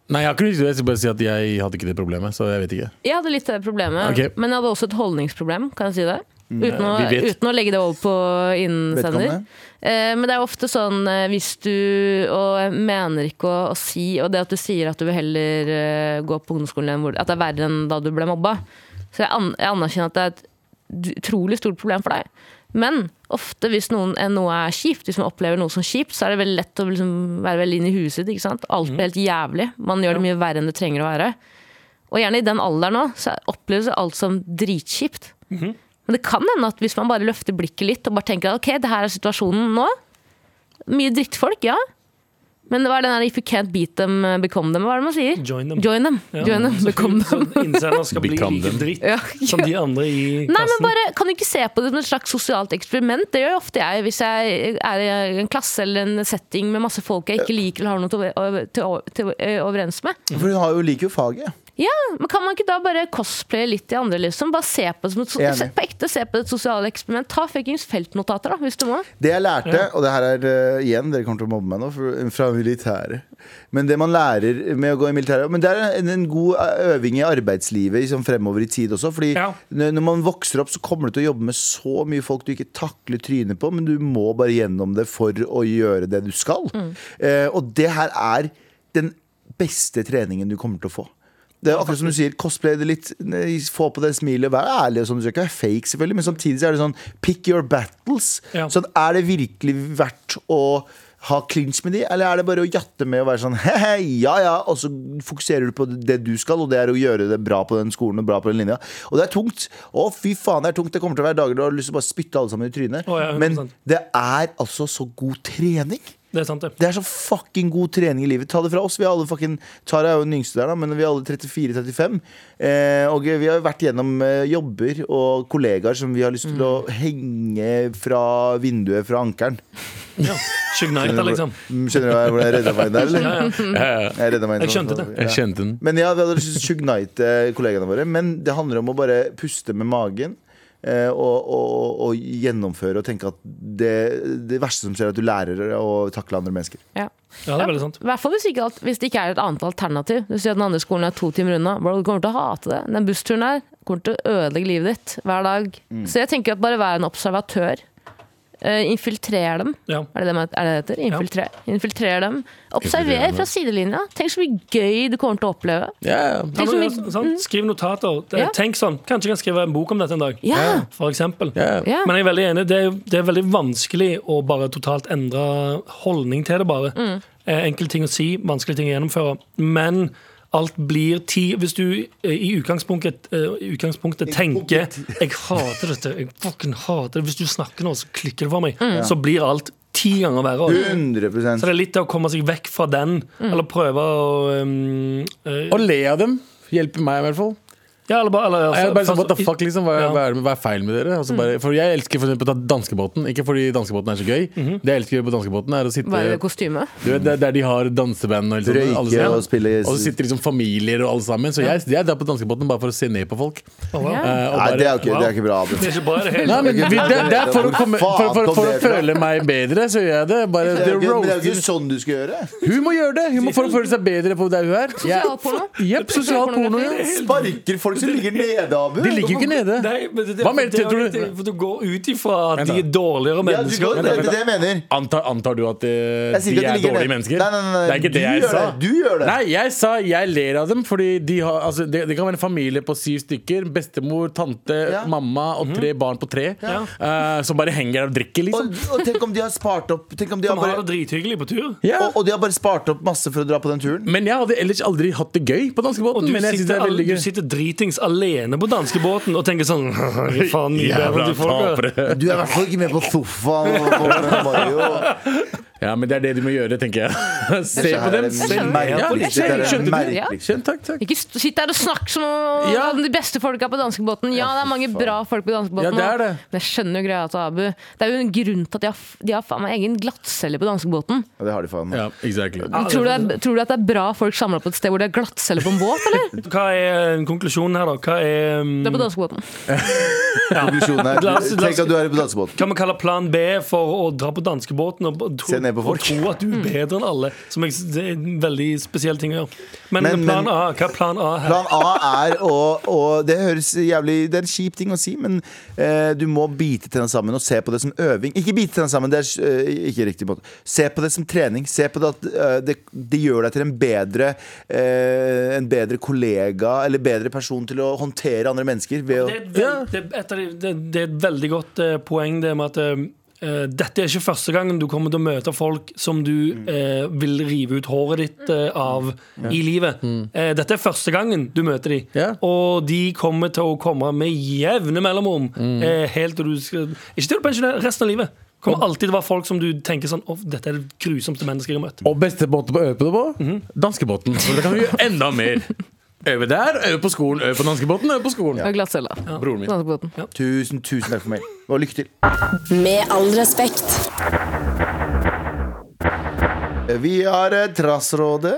S3: Nei, jeg har ikke noe historie. Jeg skal bare si at jeg hadde ikke det problemet, så jeg vet ikke.
S5: Jeg hadde litt det problemet,
S3: Ok.
S5: men jeg hadde også et holdningsproblem. Kan jeg si det? Uten å,
S3: vi vet.
S5: uten å legge det over på innsender.
S2: Vedkommende?
S5: Eh, men det er ofte sånn eh, hvis du Og jeg mener ikke å, å si Og det at du sier at du vil heller eh, gå på ungdomsskolen enn hvor, At det er verre enn da du ble mobba. Så jeg, an, jeg anerkjenner at det er et d- utrolig stort problem for deg. Men ofte hvis noen, eh, noe er kjipt, hvis man opplever noe som kjipt, så er det veldig lett å liksom være veldig inn i huset. Ikke sant? Alt
S4: Mm.
S5: blir helt jævlig. Man gjør det mye verre enn det trenger å være. Og gjerne i den alderen òg, så oppleves alt som dritkjipt.
S4: Mm-hmm.
S5: Men det kan hende at hvis man bare løfter blikket litt og bare tenker at ok, det her er situasjonen nå. Mye drittfolk, ja. Men hva er den der if you can't beat them, become them? Hva er det man sier?
S4: Join them.
S5: Join them,
S4: Ja.
S5: Join them.
S4: Så
S5: become
S4: fint,
S5: them.
S4: sånn Innsender skal bli
S3: Become
S4: like
S3: them.
S4: dritt
S5: Ja.
S4: som de andre i
S5: Nei, men
S4: klassen.
S5: bare, Kan du ikke se på det som et slags sosialt eksperiment? Det gjør jo ofte jeg hvis jeg er i en klasse eller en setting med masse folk jeg ikke liker eller har noe til å, til å, til å eh, overens med.
S2: For hun har jo, liker jo faget.
S5: Ja, men Kan man ikke da bare cosplaye litt i andre? liksom? Bare se på det som et, so-
S2: Enig.
S5: se, på ekte, se på det sosiale eksperiment. Ta fuckings feltnotater, da, hvis du må.
S2: Det jeg lærte, og det her er eh, igjen, dere kommer til å mobbe meg nå, for- fra militæret. Men det man lærer med å gå i militæret Men det er en, en god eh, øving i arbeidslivet liksom fremover i tid også. Fordi
S4: Ja.
S2: når når man vokser opp, så kommer du til å jobbe med så mye folk du ikke takler trynet på, men du må bare gjennom det for å gjøre det du skal.
S4: Mm.
S2: Eh, og det her er den beste treningen du kommer til å få. Det er akkurat som du sier, Cosplay det litt, ne- få på det smilet, vær ærlig. og sånn, Du skal ikke være fake, selvfølgelig, men samtidig så er det sånn pick your battles.
S4: Ja.
S2: Sånn, Er det virkelig verdt å ha clinch med de, eller er det bare å jatte med og være sånn he-he, ja ja, og så fokuserer du på det du skal, og det er å gjøre det bra på den skolen og bra på den linja. Og det er tungt. Å, fy faen, det er tungt. Det kommer til å være dager du har lyst til å bare spytte alle sammen i trynet.
S4: Å, ja, 100%.
S2: Men det er altså så god trening.
S4: Det er sant, det.
S2: Det er så fucking god trening i livet. Ta det fra oss. Vi er alle fucking Tara er jo den yngste der, da, men vi er alle 34-35. Eh, og vi har vært gjennom eh, jobber og kollegaer som vi har lyst til å
S4: Mm.
S2: henge fra vinduet fra ankeren.
S4: Ja. Shugnighter, liksom.
S2: Mm, Skjønner du hva- hvordan jeg redda meg inn der, eller?
S4: Mm.
S2: Jeg, redda meg inn
S4: Jeg skjønte det.
S2: Ja.
S3: Jeg kjente den.
S2: Men ja, vi hadde lyst til å sugnite kollegaene våre. Men det handler om å bare puste med magen. eh, Og, og, og gjennomføre og tenke at det, det verste som skjer, er at du lærer å takle andre mennesker.
S5: Ja.
S4: Ja, det er veldig sant.
S5: I hvert fall hvis, ikke alt- hvis det ikke er et annet alternativ. Du sier at den andre skolen er to timer unna. Bro, du kommer til å hate det. Den bussturen her kommer til å ødelegge livet ditt hver dag. Så jeg tenker at bare vær en observatør. Eh, infiltrer dem.
S4: Ja.
S5: Er det det, man- er det det heter? Infiltrer, infiltrer dem. Observer
S3: Infiltrere dem, ja.
S5: fra sidelinja. Tenk så mye gøy du kommer til å oppleve.
S3: Ja, altså, ja.
S4: Ja,
S5: Tenk så
S4: men,
S5: mye-
S4: ja, sant? Skriv notater. Det-
S5: Mm. Ja.
S4: Tenk sånn. Kanskje jeg kan skrive en bok om dette en dag.
S5: Ja.
S4: For eksempel.
S3: Ja.
S5: Ja.
S4: Men jeg er veldig enig. Det er, det er veldig vanskelig å bare totalt endre holdning til det. bare. Eh, Enkel ting å si, vanskelig ting å gjennomføre. Men alt blir ti Hvis du eh, i utgangspunktet, eh, i utgangspunktet tenker 'Jeg hater dette. jeg fucking hater det'. Hvis du snakker nå, så klikker det for meg. Så blir alt ti ganger verre.
S2: 100
S4: Så det er litt det å komme seg vekk fra den, eller prøve å um, eh,
S3: Å le av dem hjelper meg, i hvert fall.
S4: Ja, eller bare, eller, altså,
S3: Jeg er bare sånn,
S4: først-
S3: what the fuck, liksom, hva,
S4: Ja. Mm.
S3: hva, er, det- hva er feil med dere? Altså, bare, for jeg elsker for eksempel å ta danskebåten. Ikke fordi danskebåten er så gøy.
S4: Mhm.
S3: Det jeg elsker å gjøre på danskebåten, er å
S5: Bare
S3: sitte
S5: kostyme.
S3: du vet, der, der de har danseband og, liksom
S2: Røyke og spille-
S3: og så sitter liksom familier og alle sammen. Så jeg, jeg er der på danskebåten bare for å se ned på folk.
S4: Å, Oh, wow.
S5: Ja.
S3: Eh, og
S2: Nei,
S3: bare-
S2: det er jo ikke, det er ikke bra. Abu.
S4: Det er ikke bra i det hele
S3: Nei, men vi, det, det er for å, komme, for, for, for, for å
S2: Faen, kom det
S3: føle meg bedre, så gjør jeg det. Bare,
S2: Det er, jo
S3: det
S2: ikke, men det er jo
S3: roaster.
S2: ikke sånn du skal gjøre.
S3: Hun må gjøre det! Hun må for å føle seg bedre på der hun er.
S5: Sosialporno.
S3: Jepp, sosial porno. Ja.
S2: Sparker folk som ligger nede, Abu.
S3: De ligger jo ikke nede.
S4: Nei, men det, det,
S3: Hva mener du,
S4: det er jo
S3: tror du?
S4: litt- det- For du går ut ifra at de
S3: da.
S4: er dårligere
S2: Ja, du
S4: mennesker.
S2: går, det er det jeg mener.
S3: Antar, antar du at eh,
S2: Jeg sier
S3: de
S2: ikke at
S3: er
S2: de ligger
S3: dårlige
S2: ned.
S3: mennesker?
S2: Nei, nei, nei, nei.
S3: Det er ikke
S2: Du
S3: det jeg
S2: gjør
S3: sa.
S2: det. Du gjør det.
S3: Nei, jeg sa jeg ler av dem fordi de har altså, det, det kan være en familie på syv stykker. Bestemor, tante,
S2: Ja.
S3: mamma
S4: Mhm.
S3: og tre barn på tre. eh, som bare henger der og drikker, liksom.
S2: Og, og tenk om de har spart opp Tenk om de har
S4: De har
S2: bare,
S4: det drithyggelig på tur.
S3: Ja.
S2: og, og de har bare spart opp masse for å dra på den turen.
S3: Men jeg hadde ellers aldri hatt det gøy på
S4: Og
S3: danskebåten.
S4: du
S3: Men jeg synes det
S4: sitter,
S3: er
S4: all,
S3: veldig gøy.
S4: du sitter dritings alene på danskebåten og tenker sånn «Hva Faen, mye bedre enn de folka.
S3: tapere.
S2: Du er i hvert fall ikke med på sofaen og på Mario.
S3: Ja, men det er det de må gjøre, tenker jeg. Se
S2: Dette
S3: på
S2: her er
S3: dem.
S2: en
S3: se-
S2: merkelig-
S3: Ja,
S2: Dette er
S3: jeg skjønner,
S2: en
S3: skjønte du?
S2: merkelig-
S3: Skjønner, takk, takk.
S5: Ikke st- sitt der og snakk som om
S3: Ja.
S5: de beste folka på danskebåten. Ja, det er mange bra folk på danskebåten,
S3: Ja, det er det.
S5: også, men jeg skjønner jo greia til Abu. Det er jo en grunn til at de har, f- de har faen meg egen glattcelle på danskebåten.
S2: Ja, det har de faen.
S3: Ja, exactly.
S5: Tror du, det er, tror du at det er bra folk samla på et sted hvor det er glattcelle på en båt, eller?
S4: Hva er eh, konklusjonen her, da? Hva er um,
S5: Det er på danskebåten.
S2: Konklusjonen er
S4: La oss- la oss-
S2: Tenk at du er på dansebåten.
S4: Kan vi kalle plan B for å dra på danskebåten og, og, tro,
S2: Se ned på folk.
S4: og tro at du er bedre enn alle? Som jeg, det er en veldig spesiell ting å gjøre. Men,
S2: Men-
S4: plan
S2: men-
S4: A, hva er plan A her?
S2: Plan A er å å- Det høres jævlig Det er en kjip ting å si, men eh, du må bite tenna sammen og se på det som øving. Ikke bite tenna sammen, det er eh, ikke riktig måte. Se på det som trening. Se på det at eh, det, det gjør deg til en bedre eh, En bedre kollega eller bedre person til å håndtere andre mennesker. Ved å,
S4: Det er, et veld, det, er et av de, det, det er et veldig godt eh, poeng det med at eh, dette er ikke første gangen du kommer til å møte folk som du eh, vil rive ut håret ditt
S5: Mm.
S4: eh, av i livet. Eh, dette er første gangen du møter dem,
S3: Ja.
S4: og de kommer til å komme med jevne mellomrom.
S5: Mm.
S4: eh, helt til du skal, ikke til du pensjonerer resten av livet. Det kommer alltid til å være folk som du tenker sånn Å, dette er det grusomste mennesket jeg har møtt.
S3: Og beste måte å øve på det på? Mhm. Danskebåten. For da kan vi gjøre enda mer. Øve der, øve på skolen, øve på danskebåten, øve på skolen.
S5: Det er glattcella.
S3: Broren min.
S5: Danskebåten.
S2: tusen, tusen takk for meg. Og lykke til.
S8: Med all respekt.
S2: Vi har eh, Trassrådet.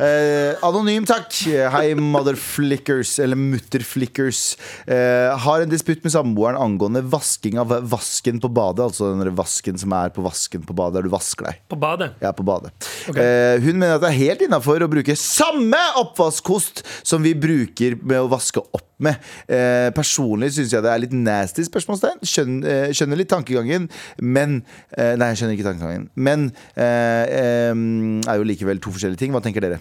S2: Eh, anonym, takk. Hei, motherflickers, eller mutterflickers. Eh, har en disputt med samboeren angående vasking av vasken på badet. Altså den der vasken som er på vasken på badet, der du vasker deg.
S4: På badet.
S2: Jeg er på badet. Eh, hun mener at det er helt innafor å bruke samme oppvaskkost som vi bruker med å vaske opp med. Eh, personlig syns jeg det er litt nasty spørsmålstegn. Skjønner, eh, skjønner litt tankegangen, men eh, Nei, jeg skjønner ikke tankegangen. Men eh, eh, er jo likevel to forskjellige ting. Hva tenker dere?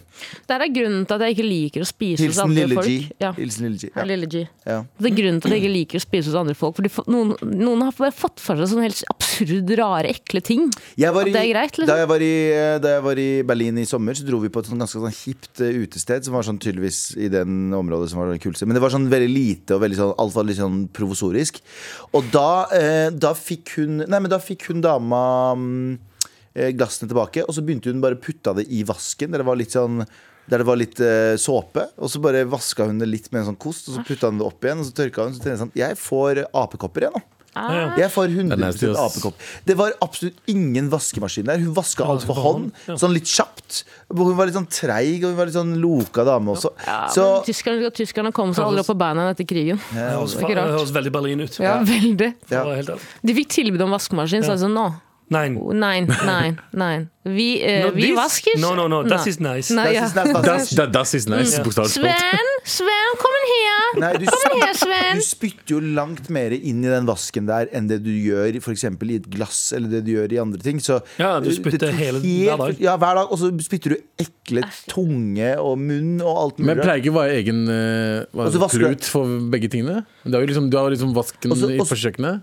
S5: Der er grunnen til at jeg ikke liker å spise hos
S2: Hilsen
S5: andre
S2: Lille
S5: folk.
S2: G.
S5: Ja.
S2: Hilsen Lille G.
S5: Hei,
S2: Ja.
S5: Lille G.
S2: Ja.
S5: Det er grunnen til at jeg ikke liker å spise hos andre folk. Fordi fo- noen, noen har bare fått for seg sånne helt absurd rare, ekle ting.
S2: Jeg var
S5: At
S2: i,
S5: det er greit, liksom.
S2: da, jeg var i, eh, da jeg var i Berlin i sommer, så dro vi på et sånn ganske sånn hipt eh, utested. Som var sånn tydeligvis i den området som var det kuleste. Men det var sånn veldig lite og veldig sånn, alt var litt sånn provosorisk. Og da, eh, da fikk hun Nei, men da fikk hun dama mm, eh, glassene tilbake, og så begynte hun bare å putte det i vasken. Der det var litt sånn der det var litt eh, såpe, og så bare vaska hun det litt med en sånn kost. Og så putta hun det opp igjen, og så tørka hun. Så tenkte jeg sånn Jeg får apekopper igjen nå.
S5: Ah,
S2: Jeg får
S3: er nasty,
S2: 100
S3: ass.
S2: apekopp. Det var absolutt ingen vaskemaskin der. Hun vaska alt for hånd, sånn litt kjapt. Hun var litt sånn treig, og hun var litt sånn loka dame også.
S5: Ja,
S2: Så
S5: men tyskerne, tyskerne kom seg aldri opp på beina etter krigen.
S4: Det høres,
S5: ikke
S4: det
S5: rart.
S4: høres veldig Berlin ut.
S5: Ja, veldig.
S2: ja.
S4: Det var helt ærlig.
S5: De fikk tilbud om vaskemaskin, så jeg sa nå.
S4: Nei.
S5: Nei, nei, nei. Vi, eh,
S4: No,
S5: vi
S4: this-
S5: vasker
S4: No, no, no, this
S5: Nei.
S4: is nice.
S5: Nei, ja.
S2: Jeg synes det er
S3: Das,
S2: fantastisk.
S3: da- das is nice, bokstavelig
S5: Sven, Sven, kom en her!
S2: Nei, du,
S5: Kom her, Sven!
S2: du spytter jo langt mer inn i den vasken der enn det du gjør for eksempel i et glass eller det du gjør i andre ting. Så,
S4: Ja, du
S2: eh,
S4: spytter
S2: det er
S4: hele-
S2: helt-
S4: hver dag.
S2: Ja, hver dag. Og så spytter du ekle tunge og munn og alt mulig.
S3: Men pleier ikke å være egen eh, hva,
S2: Og så vasker du-
S3: klut for begge tingene? Det er jo liksom, du har liksom vasken
S2: Og så-
S3: i
S2: og så-
S3: kjøkkenet.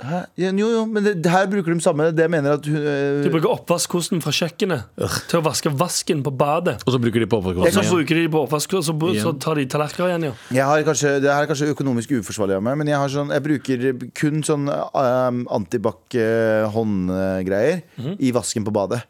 S2: Hæ? Ja, Jo, jo, men det, det her bruker de samme. Det jeg mener at hun eh,
S4: Du bruker oppvaskkosten fra kjøkkenet til å vaske vasken på badet.
S3: Og så bruker de på
S4: Og så
S3: oppvaskmaskinen.
S4: bruker de det på oppvask, og så, br-
S3: Igjen.
S4: så tar de tallerkener igjen, ja.
S2: Jeg har kanskje, det her er kanskje økonomisk uforsvarlig av meg, men jeg, har sånn, jeg bruker kun sånn um, antibac-håndgreier
S3: Mhm.
S2: i vasken på badet.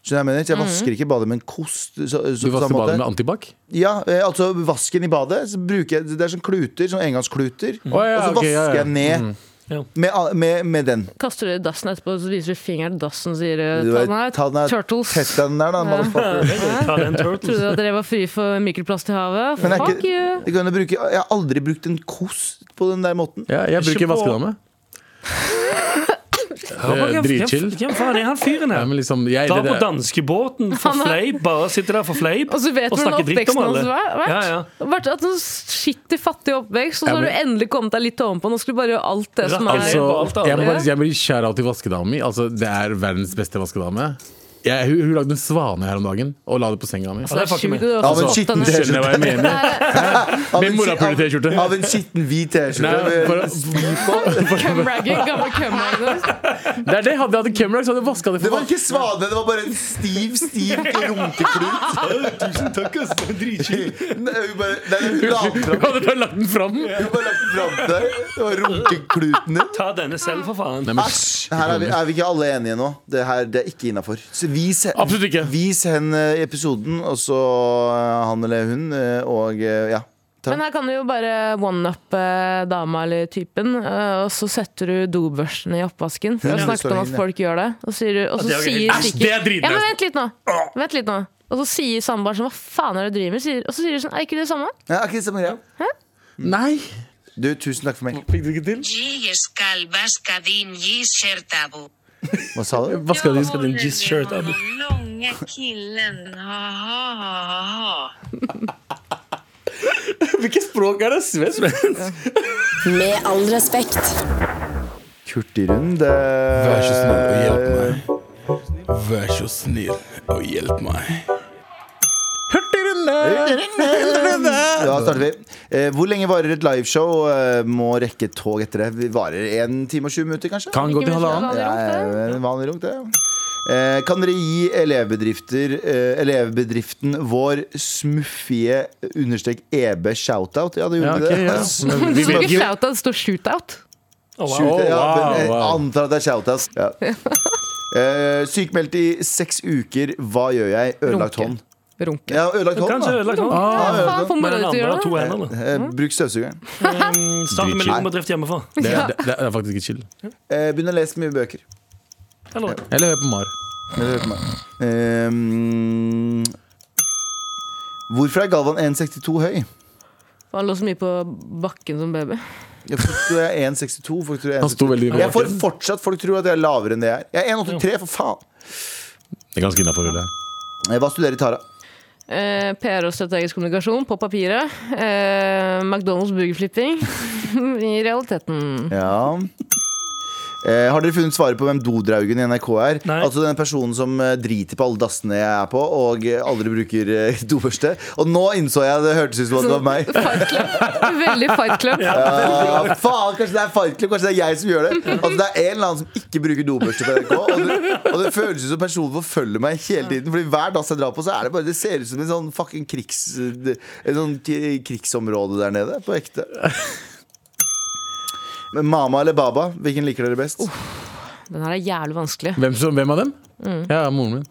S2: Skjønner du hva jeg mener? Så jeg vasker ikke badet med en kost. Så, så,
S3: Du
S2: på
S3: vasker
S2: samme
S3: badet
S2: måte.
S3: med antibac?
S2: Ja, eh, altså vasken i badet. Så bruker jeg, det er sånn kluter, sånn engangskluter.
S3: Å,
S2: og
S3: ja,
S2: så
S3: ok, ja, Mhm.
S2: vasker
S3: ja.
S2: jeg ned
S4: Ja.
S2: med, a- med, med den.
S5: Kaster du i dassen etterpå, så viser du fingeren til dassen og sier eh,
S2: Du
S5: ta
S2: vet,
S5: den her,
S2: ta den her-
S5: turtles.
S2: Tett den der, da. motherfucker.
S4: Ta den
S5: Trodde
S4: turtles.
S5: at dere var fri for mikroplast i havet?
S2: Men det er
S5: Fuck
S2: ikke-
S5: you!
S2: Jeg, kan jo bruke, jeg har aldri brukt en kost på den der måten.
S3: Ja, jeg
S4: Ikke
S3: bruker
S4: på-
S3: vaskedame. Eh, Det
S4: Hvem-
S3: er Dritchill.
S4: Hvem faen er han fyren
S3: Ja,
S4: her?
S3: men liksom, jeg,
S4: Drar
S3: det,
S4: på
S3: det,
S4: danskebåten for
S5: Han er-
S4: fleip, bare sitter der for fleip
S5: Og så vet du hvordan
S4: snakker dritt om
S5: oppveksten hans
S4: alle.
S5: var. vært.
S4: Ja, ja.
S5: Vært at noen skittig fattig oppvekst, og så
S3: Ja,
S5: har
S3: men-
S5: du endelig kommet deg litt ovenpå. Nå skal du bare gjøre alt det som er
S4: Altså-
S3: så,
S4: på alt, da.
S3: jeg, må bare, si- jeg blir skjæra til vaskedama mi. Altså, det er verdens beste vaskedame. jeg, hun, hun lagde en svane her om dagen og la det på senga mi.
S5: Altså, Så det er sjukt du
S2: Av en
S5: også har fått
S2: skitten
S5: denne.
S3: Skjønner jeg hva jeg mener?
S2: Av
S3: Min
S2: en
S3: mor
S2: ski-
S3: har pul T-skjorte.
S2: Av, av en skitten hvit T-skjorte.
S3: Nei,
S2: med
S3: for-
S2: svi på.
S5: Cumragging, gamle cumragging.
S3: Det er det, Hadde jeg hatt Kemrak, så hadde jeg vaska
S2: Det
S3: det for
S2: var ikke svane, det var bare en stiv, stiv runkeklut.
S4: Tusen takk, ass. Det er dritkjipt.
S2: Nei, hun bare- nei, hun la den
S3: Hun
S2: fram.
S3: hadde bare lagt den fram.
S2: Hun bare lagt den fram til deg. Det var runkekluten din.
S4: Ta denne selv, for faen.
S2: Æsj! Her er vi, er vi ikke alle enige nå. Det her det er ikke innafor. Vis,
S3: Absolutt ikke.
S2: vis hen eh, episoden, og så eh, han eller hun, eh, og eh, ja.
S5: Men her kan du jo bare one-up eh, dama eller typen, eh, og så setter du dobørstene i oppvasken. For jeg har
S2: Ja, det
S5: snakket om
S2: står
S5: at
S2: inne.
S5: folk gjør det. Og, så sier, du- og så
S4: det er jo helt-
S5: sier
S3: Æsj,
S5: sikkert
S3: det er dritløst.
S5: Ja, men vent litt nå! Vent litt nå. Og så sier samboeren sånn Hva faen er det du driver med? Sier, og så sier du sånn Er ikke det samme?
S2: ja ok, samme greia.
S3: Nei.
S2: Du, tusen takk for meg.
S3: Fikk du ikke til?
S10: Gis kalvaska din gissertabu.
S2: Hva sa du?
S3: Hva skal du
S4: Skal den G-shirt av
S10: Den långa killen, ha-ha-ha-ha.
S3: Hvilket språk er det? Svensk?
S8: Med all respekt.
S2: Hurtigrunde.
S3: Vær så snill og hjelp meg. Vær så snill og hjelp meg. Hurtigrunde!
S2: Da starter vi. Eh, Hvor lenge varer et liveshow? Eh, Må rekke et tog etter det. Vi varer 1 time og 20 minutter, kanskje?
S3: Kan gå til halvannen.
S5: Ja, det er
S2: Ja, en vanlig runk, det. Eh, Kan dere gi elevbedrifter eh, elevbedriften vår smuffige understrek EB shoutout? Ja, det
S3: Ja,
S2: gjorde
S3: ok,
S2: vi det.
S3: ja. Men
S5: Det
S3: vi
S5: står
S3: vet
S5: ikke
S3: jo
S5: shoutout, det står shootout.
S4: Oh, wow.
S2: Shoot, ja,
S3: wow,
S2: men jeg
S3: wow.
S2: antar at det er shoutout. Ja. Eh, Sykmeldt i seks uker. Hva gjør jeg? Ødelagt
S5: Runke.
S2: hånd.
S5: Runke.
S2: Ja, ødelagt hånd,
S4: Kanskje
S2: da.
S4: ødelagt hånd.
S5: Ja, faen, får
S4: Ah. Men den
S5: moro ut å
S4: andre har
S5: gjøre det.
S4: to hender. da.
S2: Eh, Bruk støvsugeren.
S4: Mm, Start med
S3: Dritchill.
S4: litt bedrift hjemmefra.
S3: det er, det, det er faktisk ikke chill.
S2: Eh, Begynn å lese mye bøker.
S4: Eller
S3: Eller hør på Mar.
S2: Hør på meg. Ehm, hvorfor er Galvan 1,62 høy?
S5: Han lå så mye på bakken som baby.
S2: Jeg folk tror jeg er 1,62. Folk tror jeg er
S3: Han sto
S2: 1,62.
S3: veldig
S2: Jeg får fortsatt folk tror at jeg er lavere enn det jeg er. Jeg er 1,83, for faen!
S3: Det er ganske innafor.
S2: Eh, Hva studerer Tara?
S5: Eh, PR og strategisk kommunikasjon på papiret. Eh, McDonald's burgerflipping i realiteten.
S2: Ja Eh, har dere funnet svaret på hvem Dodraugen i NRK er?
S4: Nei.
S2: Altså den personen som eh, driter på alle dassene jeg er på, og eh, aldri bruker eh, dobørste. Og nå innså jeg det hørtes ut som at det var meg.
S5: Fight Club. Veldig Fight Club.
S2: Ja, faen, kanskje det er Fight Club, kanskje det er jeg som gjør det. Altså, det er en eller annen som ikke bruker dobørste på NRK. Og det, og det føles ut som personen forfølger meg hele tiden. Fordi hver dass jeg drar på, så er det bare Det ser ut som en sånn fucking krigs... En sånn k- krigsområde der nede. På ekte. Men Mama eller Baba, hvilken liker dere best?
S5: Den her er jævlig vanskelig.
S3: Hvem, som- hvem av dem? Ja, moren min.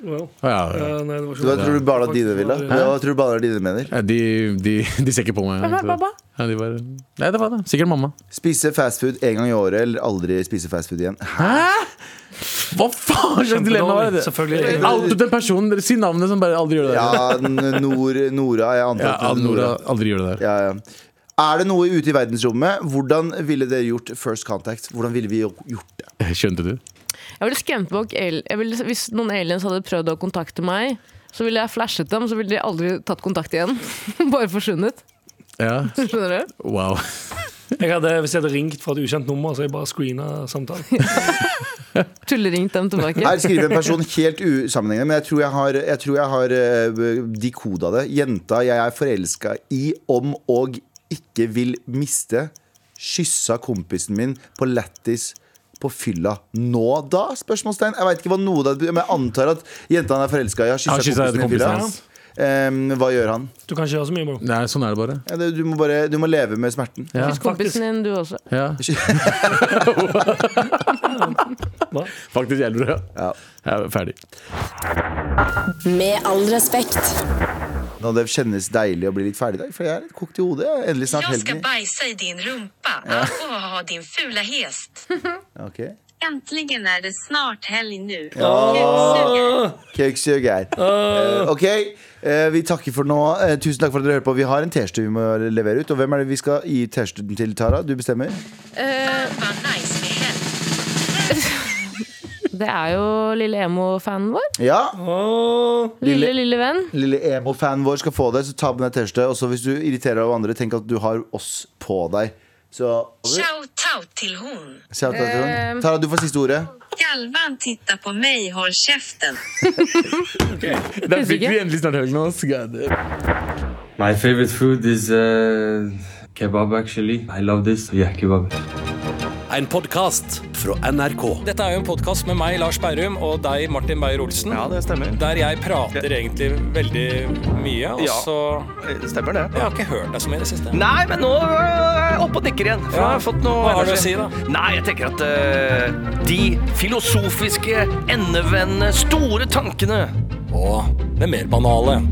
S4: Well,
S3: Å, ja, Mm. ja.
S4: eh, nei, det var ikke
S2: Hva tror du bare at dine vil, da?
S4: Hæ?
S2: Hva tror du bare at dine mener?
S3: Ja, de, de, de ser ikke på meg.
S5: Hva, hva, hva?
S3: Ja, de bare, nei, det var det. Sikkert mamma.
S2: Spise fastfood én gang i året eller aldri spise fastfood igjen?
S3: Hæ? Hva faen slags dilemma var det?
S4: Selvfølgelig.
S3: Outet den personen. Si navnet som bare aldri gjør det. der.
S2: Ja, n- Nor, Nora. Jeg antar
S3: Ja,
S2: at det er
S3: Nora
S2: Nora.
S3: aldri gjør det der.
S2: ja, ja. Er det noe ute i verdensrommet? Hvordan ville dere gjort First Contact? Hvordan ville vi gjort det?
S3: Skjønte du?
S5: Jeg ville skremt bak al- jeg ville, Hvis noen aliens hadde prøvd å kontakte meg, så ville jeg flashet dem, så ville de aldri tatt kontakt igjen. Bare forsvunnet.
S3: Ja,
S5: Skjønner du?
S3: wow.
S4: Jeg hadde, hvis jeg hadde ringt fra et ukjent nummer, så hadde jeg bare screena samtalen.
S5: Tulleringt dem tilbake.
S2: Her skriver en person helt usammenhengende, men jeg tror jeg har, jeg tror jeg har eh, dekoda det. Jenta jeg er forelska i, om og ikke vil miste, kyssa kompisen min på lættis på fylla. Nå da? Spørsmålstegn. Jeg veit ikke hva noe det er, men jeg antar at jenta han er forelska i, har
S3: Han
S2: kyssa
S3: kysset
S2: kompisen min i fylla.
S3: kompisen hans.
S2: Em, hva gjør han?
S4: Du kan ikke gjøre så mye, bro.
S3: Nei, sånn er det bare.
S2: Ja, det- Du må, bare, du må leve med smerten.
S3: Ja.
S5: Hvis kompisen din, du også.
S3: Ja.
S4: Hva?
S3: Faktisk gjelder det.
S2: Ja.
S3: Jeg er ferdig.
S8: Med all respekt.
S2: Nå, det kjennes deilig å bli litt ferdig i dag, for jeg er litt kokt i hodet. Jeg er Endelig snart
S10: Jag ska
S2: helgen.
S10: bajsa i din rumpa. Åh, ha din fula häst.
S2: Ok.
S10: Äntligen är det snart helg nu.
S2: Køksug her. Eh, ok, eh, vi takker for nå. Eh, tusen takk for at dere hører på. Vi har en T-skjorte vi må levere ut. Og hvem er det vi skal gi T-skjorten til, Tara? Du bestemmer.
S5: Eh,
S10: Vad nice med helg.
S5: det er jo lille emo-fanen vår.
S2: Ja.
S5: Lille, lille venn.
S2: Lille emo-fanen vår skal få det, så ta med deg T-skjorte. Og så hvis du irriterer deg over andre, tenk at du har oss på deg. Så
S10: Shoutout till hon.
S2: Shout out til henne. Tara, du får siste ordet.
S10: Galvan, titta på mig, håll käften.
S5: Der fikk vi endelig snart hørt noe. God.
S11: My favorite food is uh, kebab, actually. I love this. Yeah, kebab.
S12: En podkast fra NRK.
S3: Dette er jo en podkast med meg, Lars Berrum, og deg, Martin Beyer-Olsen. Ja, det stemmer Der jeg prater egentlig veldig mye, og
S4: Ja,
S3: så
S4: Eh, Stemmer det.
S3: Jeg har ikke hørt deg så mye i det siste.
S4: Nei, men nå øh, er jeg oppe og nikker igjen. for
S3: Ja.
S4: jeg har fått noe
S3: Hva har du å
S4: energi.
S3: si, da?
S4: Nei, jeg tenker at øh, de filosofiske, endevendende, store tankene
S3: Og det mer banale.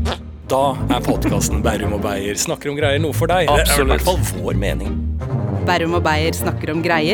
S3: Da er podkasten Berrum og Beyer snakker om greier noe for deg. Det er i hvert
S4: Absolutt.
S3: fall vår mening.
S8: Berrum og Beyer snakker om greier.